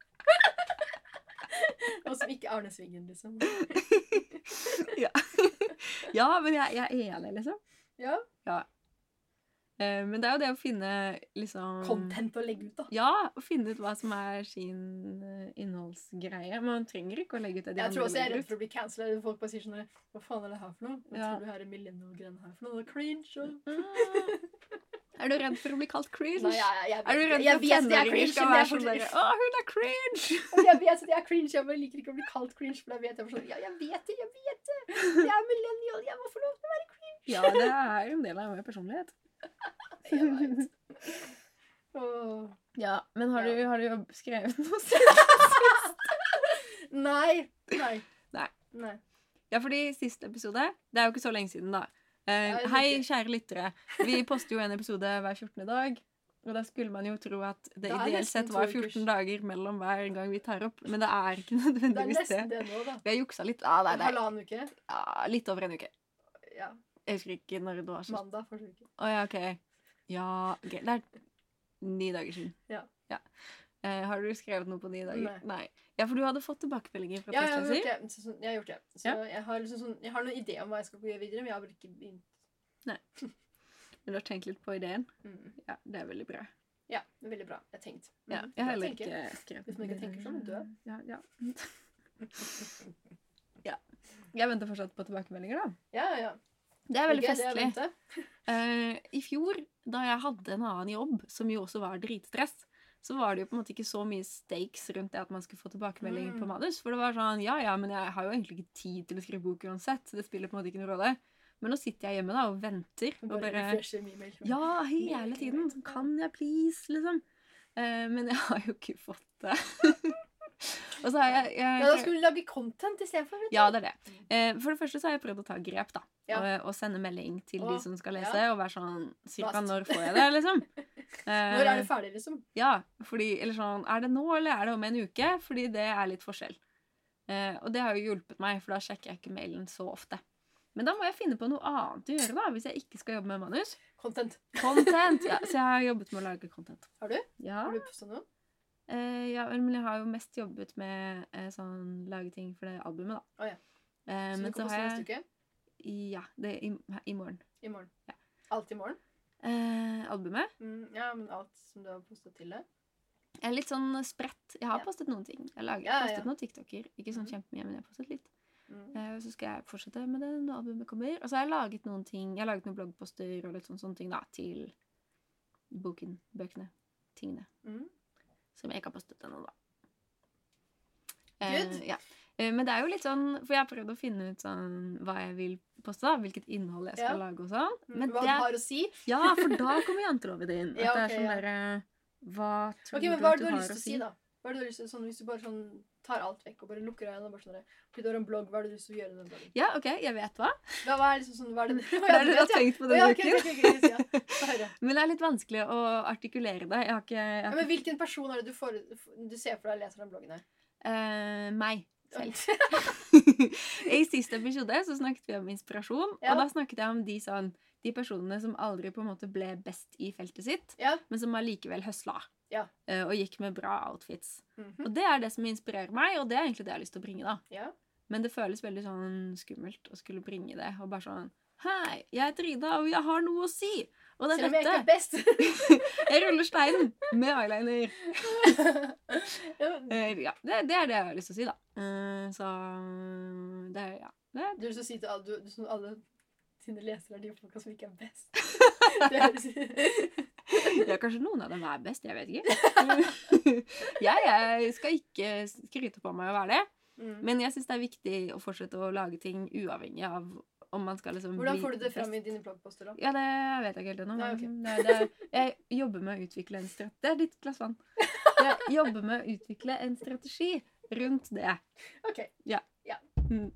Og som ikke Arne Svingen, liksom. ja, men jeg, jeg er enig, liksom. Ja, Eh, men det er jo det å finne liksom Content å legge ut, da. Ja, å finne ut hva som er sin eh, innholdsgreie. Man trenger ikke å legge ut det de Jeg tror andre også jeg er legger redd ut. for å bli cancelled. Folk bare sier sånn Hva faen er det her for noe? Hva Ja. tror du her er millennial-greiene her for noe? Det er cringe. Og... Ah, Er du redd for å bli kalt cringe? Nei, jeg, jeg, jeg, er du redd jeg for at vet at jeg er tenåringer cringe, skal være men jeg er sånn fortsatt- derre Å, hun er cringe! Altså, Jeg vet at jeg er cringe, jeg bare liker ikke å bli kalt cringe. For da vet jeg bare sånn, ja, jeg vet det, jeg vet det. Jeg er millennial, jeg må få lov til å være Ja, det er en del av min personlighet. cringe. Jeg vet. Åh. Ja, Men har, Ja. Du, har du jo skrevet noe? Nei. Nei. Nei. Nei. Ja, fordi siste episode Det er jo ikke så lenge siden, da. Eh, Ja, det er hei, riktig. kjære lyttere. Vi poster jo en episode hver 14. dag. Og da skulle man jo tro at det Det er ideelt nesten sett to var ukers. 14 dager mellom hver gang vi tar opp, men det er ikke Det er nødvendigvis det. nesten det nå, da. Vi har juksa litt. Ja, det er, det er, Halvannen uke. ja, litt over en uke. Ja. Jeg husker ikke når det var slutt. Mandag forrige uke. Å ja, OK. Ja, ok. Det er ni dager siden. Ja. Eh, har du skrevet noe på ni dager? Nei. Nei. Ja, for du hadde fått tilbakemeldinger fra Ja, jeg har testløser? gjort det. Så, sånn- jeg har gjort det. Så Ja. jeg, har liksom sånn, jeg har noen idé om hva jeg skal gjøre videre, men jeg har bare ikke begynt. Men du har tenkt litt på ideen? Mm. Ja, det er veldig bra. Ja, det er veldig bra. Mm, Jeg har tenkt. Mm. Ja, jeg har heller tenker. ikke skrevet Hvis man ikke tenker sånn, dø. Ja, ja. ja. Jeg venter fortsatt på tilbakemeldinger, da. Ja, ja, ja. Det er veldig Ikke det jeg festlig. ventet. Eh, I fjor, da jeg hadde en annen jobb, som jo også var dritstress, så var det jo på en måte ikke så mye stakes rundt det at man skulle få tilbakemeldinger på Mm. manus. For det var sånn Ja, ja, men jeg har jo egentlig ikke tid til å skrive bok uansett. Så det spiller på en måte ikke noen rolle. Men nå sitter jeg hjemme da og venter. Og Bare bare refresher min mail. Ja, hele tiden. Sånn, kan jeg please, liksom? Eh, men jeg har jo ikke fått det. og så har jeg, jeg Ja, da skulle du lage content istedenfor. Ja, det er det. Eh, for det første så har jeg prøvd å ta grep, da. Ja. Og, og sende melding til de Å, som skal lese, og være sånn Cirka Mast. når får jeg det, liksom? Eh, Når er det ferdig, liksom? Ja, fordi Eller sånn Er det nå, eller er det om en uke? Fordi det er litt forskjell. Eh, og det har jo hjulpet meg, for da sjekker jeg ikke mailen så ofte. Men da må jeg finne på noe annet å gjøre, da, hvis jeg ikke skal jobbe med manus. Content. Content! Ja, så jeg har jobbet med å lage content. Har du? Ja. Har du posta noe? Eh, ja, men jeg har jo mest jobbet med eh, sånn lage ting for det albumet, da. Å ja. Eh, Så du men så kan poste har neste jeg uke? Ja, det er i, i morgen. I morgen. Ja. Alt i morgen? Eh, albumet Mm, ja, men alt som du har posta til det? er litt sånn spredt. Jeg har Ja. postet noen ting. Jeg har Ja, ja, ja. postet noen TikToker. Ikke sånn Mhm. kjempemye, men jeg har postet litt. Mm. Eh, og så skal jeg fortsette med det når albumet kommer. Og så har jeg laget noen ting. Jeg har laget noen bloggposter og litt sånn, sånne ting da, til boken, bøkene, tingene. Mm. Som jeg ikke har postet ennå, da. Good. Eh, ja. Eh, Men det er jo litt sånn For jeg har prøvd å finne ut sånn hva jeg vil poste, da, hvilket innhold jeg skal Ja. lage og sånn. Men hva det, du har å si. ja, for da kommer janteloven inn. At Ja, det ok, er sånn ja. derre Hva tror Ok, men du Hva at er du det du har har lyst til å si, da? Hva er det du har lyst til, sånn, Hvis du bare sånn, tar alt vekk og bare lukker øynene og bare sånn der, Ok, du har en blogg, hva er det du har lyst til å gjøre den dagen? Ja, OK, jeg vet hva. Hva, hva er liksom sånn, hva er det Hva er det du har tenkt på Å, denne ja, ok, uken? ok, ok, ok, yes, ja. Få høre. Men det er litt vanskelig å artikulere det. Jeg har ikke jeg Ja, har men Hvilken person er det du, får, du ser for deg leser den bloggen her? Eh, meg selv. Selv. I siste episode så snakket vi om inspirasjon, Ja. og da snakket jeg om de, sånn, de personene som aldri på en måte ble best i feltet sitt, Ja. men som allikevel høsla Ja. eh, og gikk med bra outfits. Mhm. Og det er det som inspirerer meg, og det er egentlig det jeg har lyst til å bringe. da. Ja. Men det føles veldig sånn skummelt å skulle bringe det, og bare sånn Hei, jeg heter Ida, og jeg har noe å si! Og det Selv er om jeg ikke er dette! best. Jeg ruller steinen med eyeliner. Ja, men Eh, Ja, det, det er det jeg har lyst til å si, da. Eh, så eh, det er, ja. Det er, du vil så si til alle, du, du, som alle sine lesere er de folka som ikke er best. Det høres- ja, kanskje noen av dem er best. Jeg vet ikke. jeg, jeg skal ikke skryte på meg å være det, Mm. men jeg syns det er viktig å fortsette å lage ting uavhengig av om man skal liksom Hvordan bli får du det fram best. i dine bloggposter, da? Ja, det vet jeg ikke helt ennå. Nei, ok. men det- det er- Jeg jobber med å utvikle en strategi Det er ditt glass vann. Jeg jobber med å utvikle en strategi rundt det. Ok, Mm.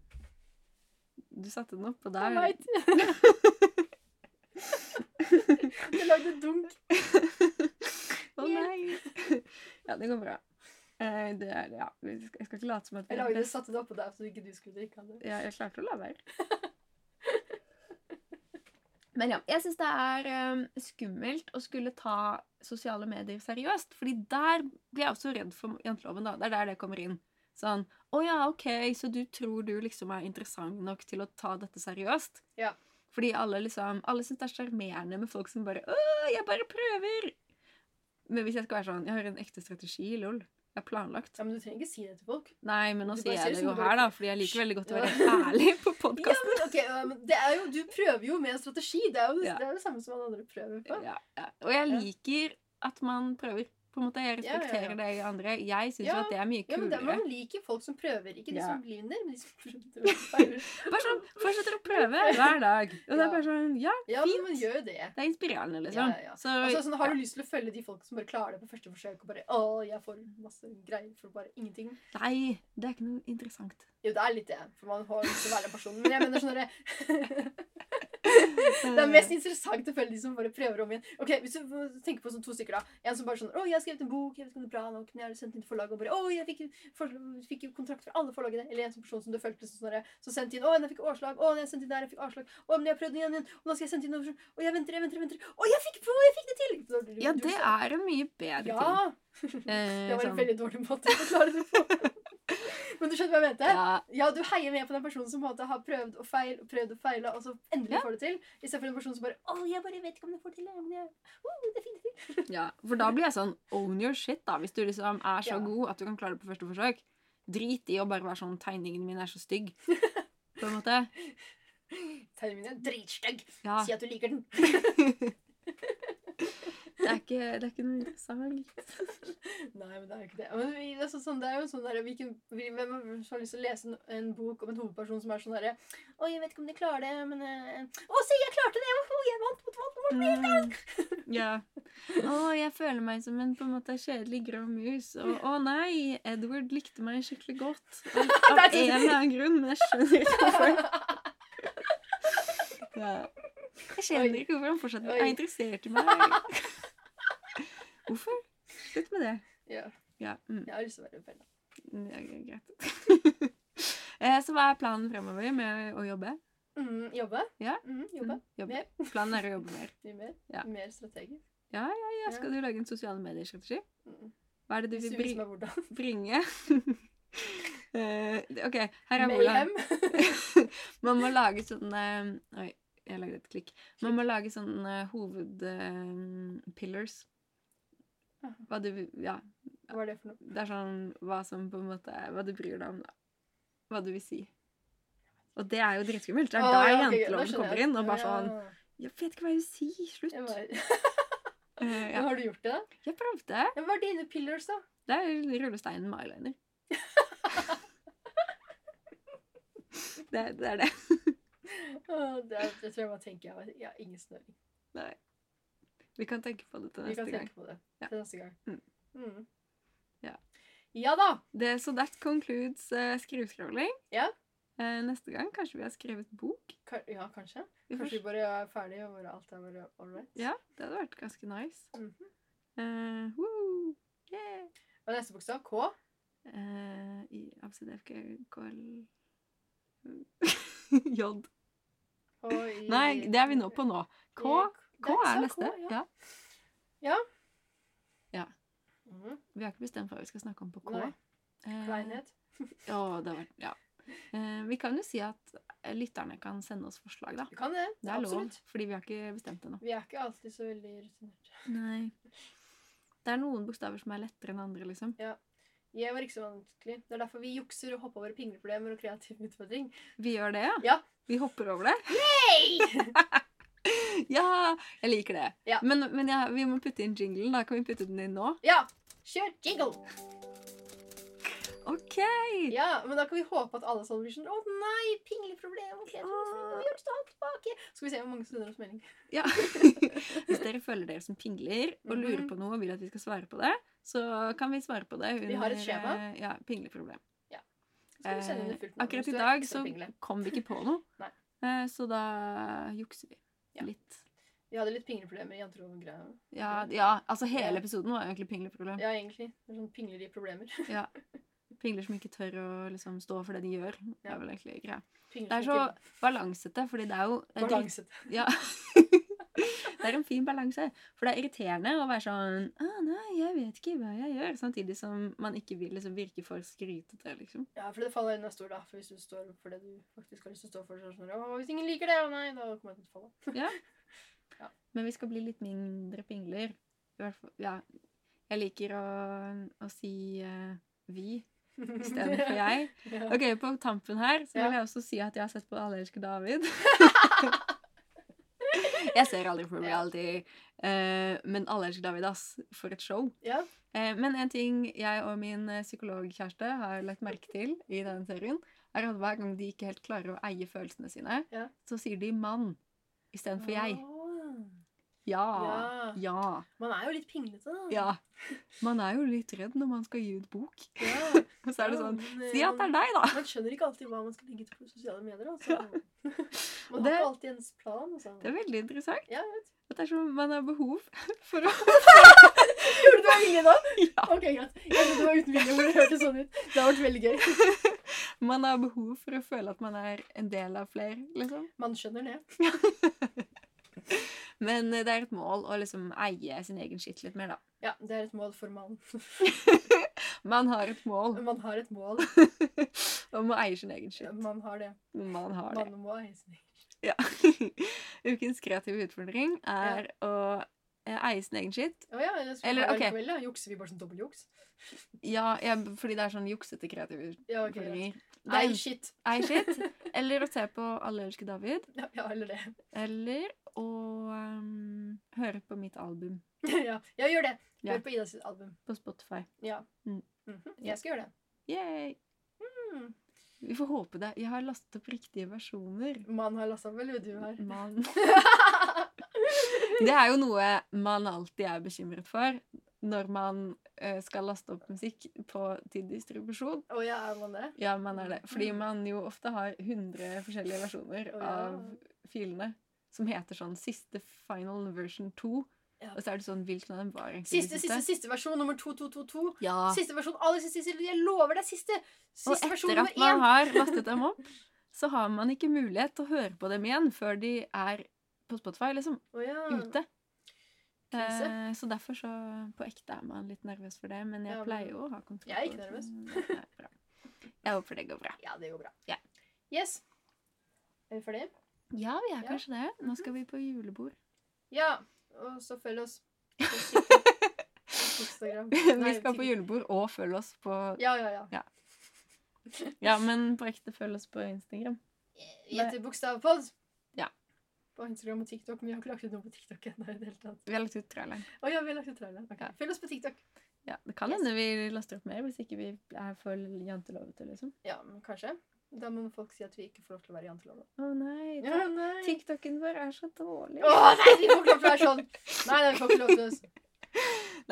Du satte den opp, og jeg der veit. Jeg lagde dunk. Å nei! ja, det går bra. Eh, det er, ja, vi skal- jeg skal ikke late som at vi Jeg er lagde det, best. satte det oppå deg så ikke du skulle drikke av det. Ja, jeg klarte å la være. Men ja, jeg syns det er eh, skummelt å skulle ta sosiale medier seriøst. fordi der blir jeg også redd for janteloven. da. Det er der det kommer inn. Sånn Å ja, OK, så du tror du liksom er interessant nok til å ta dette seriøst? Ja. Fordi alle liksom, alle syns det er sjarmerende med folk som bare Å, jeg bare prøver! Men hvis jeg skal være sånn Jeg har en ekte strategi, lol. Jeg har planlagt. Ja, men Du trenger ikke si det til folk. Nei, men nå Du sier bare ser jeg ut det som jo du her, bare- da, fordi jeg liker veldig godt å være Ja. ærlig på Ja, podkasten. men, ok, ja, men det er jo, Du prøver jo med strategi. Det er jo det, Ja. det, er det samme som alle andre prøver på. Ja, ja. Og jeg Ja. liker at man prøver. På en måte, Jeg ja, ja. respekterer det i andre. Jeg syns Ja, jo at det er mye Ja, men det, kulere. Man liker folk som prøver. Ikke de Ja. som blir under, men de som prøver. prøver. Bare sånn, Fortsetter å prøve hver dag. Og det Ja. er bare sånn, ja, Ja, men Fint. man gjør jo det. det er inspirerende, liksom. Ja, ja. Så, Altså, sånn, har du lyst til å følge de folk som bare klarer det på første forsøk? og bare, å, jeg får masse greier for bare ingenting. Nei, det er ikke noe interessant. Jo, det er litt det, for man har lyst til å være den personen. Men jeg mener sånn derre- Det er mest interessant å følge de som bare prøver om igjen. Ok, Hvis du tenker på sånn to stykker, da. En som bare sånn 'Å, jeg har skrevet en bok. Jeg vet ikke om det er bra nok.' Men jeg har sendt den til forlaget og bare 'Å, jeg fikk, for, fikk jo kontrakt fra alle forlagene.' Eller en sånn person som du følte sånn sånn der, Så sendte inn 'Å, jeg fikk avslag. Å, jeg sendte inn der. Jeg fikk avslag. Å, men jeg prøvde igjen, igjen. Og nå skal jeg sende inn over Og jeg venter, jeg venter, jeg venter. Å, jeg fikk, å, jeg fikk det til! Så du- Ja, du- det er en mye bedre ting. Ja! Eh, Det var en sånn. veldig dårlig måte å forklare det på. Men du skjønner hva jeg mente? Ja, Ja, du heier med på den personen som på en måte har prøvd og feil og prøvd og feila, og så endelig Ja. får det til. Istedenfor en person som bare 'Å, jeg bare vet ikke om jeg får til det.' Men jeg, oh, det er fint, det er fint. ja. For da blir jeg sånn own your shit, da. Hvis du liksom er så Ja. god at du kan klare det på første forsøk. Drit i å bare være sånn 'Tegningen min er så stygg'. På en måte. Tegnen min er dritstygg. Ja. Si at du liker den. Det er ikke, det er ikke noe interessant. Nei, men det er jo ikke det. Men vi- det er, sånn, det er jo sånn der, hvilken, vi- Hvem er det som har lyst til å lese en, en bok om en hovedperson som er sånn derre 'Å, jeg vet ikke om de klarer det, men eh, Å, se, jeg klarte det! Å, jeg vant mot Voldemort!' Mm. Ja. Å, jeg føler meg som en på en måte kjedelig grå mus. Og å nei, Edward likte meg skikkelig godt. Av av en Det er eller annen grunn, men jeg skjønner ikke hvorfor. Ja. Jeg skjønner ikke hvorfor han fortsatt Oi. er interessert i meg. Hvorfor? Slutt med det. Ja. Ja, mm, Jeg har lyst til å være rebell. det er greit. Eh, Så hva er planen fremover med å jobbe? Mm, jobbe. Ja. Mm, jobbe. jobbe. Mer. Planen er å jobbe mer. Mye mer. Ja. Mer strategisk. Ja, skal du lage en sosiale medier-strategi? Mm. Hva er det Hvis du du vil viser bringe? meg hvordan. bringe Eh, OK, her er hvordan Mayhem. man må lage sånne Oi, jeg lagde et klikk. Man må lage sånn, eh, sånne hovedpillars. eh, Hva du Ja. Hva er det for noe? Det er sånn hva som på en måte er Hva du bryr deg om, da. Hva du vil si. Og det er jo dritskummelt. Det er Å, der ja, ok, greit. Da jenteloven skjønner kommer jeg. inn og bare sånn Ja. 'Jeg vet ikke hva jeg vil si. Slutt.' Jeg bare, Eh, Men ja. Har du gjort det, da? Jeg prøvde. Ja, Hva er dine pillars, da? Det er rullesteinen med eyeliner. det, det er det. Åh, det, er- det tror jeg man tenker. Jeg har- Jeg har ingen snøring. Nei. Vi kan tenke på det til Vi kan neste gang. tenke på det Ja. til neste gang. Mm. Mm. Ja. Ja da! Det, så that concludes uh, skriveskravling. Ja. Eh, neste gang kanskje vi har skrevet bok. Ka- Ja, kanskje. Vi får Kanskje vi s- bare er ferdige og bare alt er bare all right. Ja, det hadde vært ganske nice. Mhm. Eh, woo! Yeah! Og neste bokstav, K. Eh, I ABCDFGKL J. Og i- Nei, det er vi nå på nå. K, Det K er så neste. K, ja. Ja. Mhm. Vi har ikke bestemt hva vi skal snakke om på K. Nei. Eh, Kleinhet. å, det var, ja. Eh, vi kan jo si at eh, lytterne kan sende oss forslag, da. Vi kan det. Det er Absolutt. lov, fordi vi har ikke bestemt ennå. Vi er ikke alltid så veldig rutinerte. Nei. Det er noen bokstaver som er lettere enn andre, liksom. Jeg var ikke så vanskelig. Det er derfor vi jukser og hopper over pingleproblemer og kreativ utfordring. Vi gjør det, ja? Ja. Vi hopper over det? Hey! Ja! Jeg liker det. Ja. Men, men ja, vi må putte inn jinglen. Da kan vi putte den inn nå. Ja! Kjør jingle! OK! Ja, men da kan vi håpe at alle sånn blir sånn Å nei, pingleproblem! ok, jeg tror Ah. vi må gjøre alt tilbake. Skal vi se hvor mange som sender oss melding. Ja. Hvis dere føler dere som pingler og lurer Mhm. på noe og vil at vi skal svare på det, så kan vi svare på det under Vi har et skjema. eh, Ja, pingleproblem. Så skal vi sende Eh, inn det fullt navn akkurat hvis i du er dag ekstra så pingle. kom vi ikke på noe, Nei. Eh, så da jukser vi Ja. litt. Vi hadde litt pingleproblemer i janteloven-greia. Ja, ja, altså hele Ja. episoden var egentlig pingleproblem. Ja, egentlig. Det er sånn pingler i problemer. Ja. Pingler som ikke tør å liksom stå for det de gjør. Det Ja. er vel egentlig greia. Pingler Det er som så ikke- balansete, fordi det er jo det er drit- Balanset. Ja. det er en fin balanse. For det er irriterende å være sånn ah, 'Nei, jeg vet ikke hva jeg gjør.' Samtidig som man ikke vil liksom virke for skrytete, liksom. Ja, for det faller unna stor, da. For hvis du står for det du faktisk har lyst til å stå for, så er det sånn Å, hvis ingen liker det, å nei, da kommer jeg til å falle. Men vi skal bli litt mindre pingler. I hvert fall Ja. Jeg liker å, å si eh, 'vi' i stedet for 'jeg'. Ja. Ok, På tampen her så Ja. vil jeg også si at jeg har sett på Alle elsker David. jeg ser aldri på reality, eh, men Alle elsker David, ass. For et show. Ja. Eh, men en ting jeg og min eh, psykologkjæreste har lagt merke til i denne serien, er at hver gang de ikke helt klarer å eie følelsene sine, Ja. så sier de 'mann' istedenfor 'jeg'. Ah, Åh. Ja. Ah, Ja. Ja. Man er jo litt pinglete, da. Ja. Man er jo litt redd når man skal gi ut bok. Ja. Og så er det Ja, sånn men, Si at det man- er deg, da! Man skjønner ikke alltid hva man skal legge ut på sosiale medier. Altså. Og Man har det- ikke alltid ens plan. Altså. Det er veldig interessant. Ja, jeg vet. At det er som man har behov for å Gjorde du det med vilje nå? Ja. Ok, greit. Jeg trodde det var uten vilje, men det hørtes sånn ut. Det har vært veldig gøy. Man har behov for å føle at man er en del av flere, liksom. Man skjønner det. Men eh, det er et mål å liksom eie sin egen skitt litt mer, da. Ja, det er et mål for mann. Man har et mål Man har et mål. om å eie sin egen skitt. Man har det. Man har det. Man må eie sin egen. Ja. Ukens kreative utfordring er å eh, eie sin egen skitt. Å ja, jeg skulle Eller, ha det ok. likevel, ja. Jukser vi bare som dobbeltjuks? Ja, ja, fordi det er sånn juksete kreative Ja, ok. greit. utfordringer. Det Nei, er shit. eie skitt, eller å se på Alle elsker David, Ja, ja, eller det. eller å ehm, høre på mitt album ja. ja, gjør det. Ja. Hør på Ida sitt album. på Spotify. Ja. Mm. Mhm. Jeg skal gjøre det. Yay! Mm. Vi får håpe det. Jeg har lastet opp riktige versjoner. Man har lasta opp, eller du har? Man. Det er jo noe man alltid er bekymret for når man eh, skal laste opp musikk på, til distribusjon. Å ja, er man det? Ja, man er det. Fordi man jo ofte har 100 forskjellige versjoner Mm. Å, ja. av filene som heter sånn siste final version 2. Ja. Og så er det sånn hvilken av dem var egentlig Siste, siste, siste versjon nummer 2222. Ja. Siste versjon, aller siste, siste, jeg lover deg siste! Og Siste versjon etter nummer at man én! har lastet dem opp, så har man ikke mulighet til å høre på dem igjen før de er på Spotify, liksom. Å ja. ute. Mm. Krise. Eh, så derfor så på ekte er man litt nervøs for det, men jeg Ja, men- pleier jo å ha kontroll. Jeg er ikke på det, nervøs. så- Nei, det er bra. Jeg håper det går bra. Ja, det går bra. Ja. Yes. Er vi ferdige? Ja, Mhm. vi er Ja. kanskje det. Nå skal vi på julebord. Ja. Og så følg oss på Instagram. vi skal på jul. julebord og følg oss på Ja, ja, ja. Ja, men på ekte følg oss på Instagram. Vi heter Bokstavpod. Ja. På Instagram og TikTok. Men vi har ikke lagt ut noe på TikTok ennå. i det hele tatt. Vi har lagt ut traileren. Å ja, vi har lagt ut traileren. Ok, Ja. Følg oss på TikTok. Ja, det kan Yes. hende vi laster opp mer hvis ikke vi er for jantelovete, liksom. Ja, men kanskje. Da må folk si at vi ikke får lov til å være janteloven. Å nei, Ja, ta- nei. TikToken vår er så dårlig. Å nei, vi får ikke lov til å være sånn! Nei, nei, vi får ikke lov til å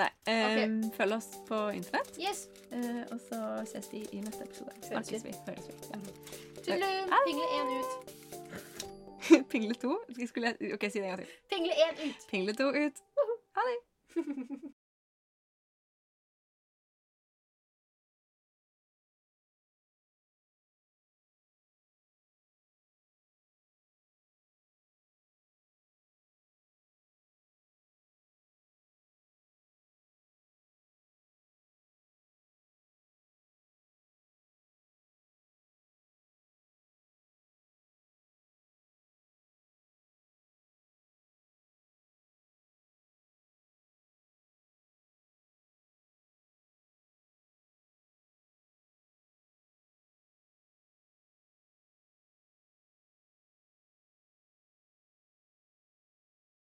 Nei, ehm, Følg oss på internett, Yes! eh, og så ses vi i neste episode. Snakkes vi. Høres vi. Ja. Tuddelum! Pingle én ut. Pingle 2. Skulle jeg, ok, si det en gang til. Pingle én ut. Pingle 2 ut. Ha det!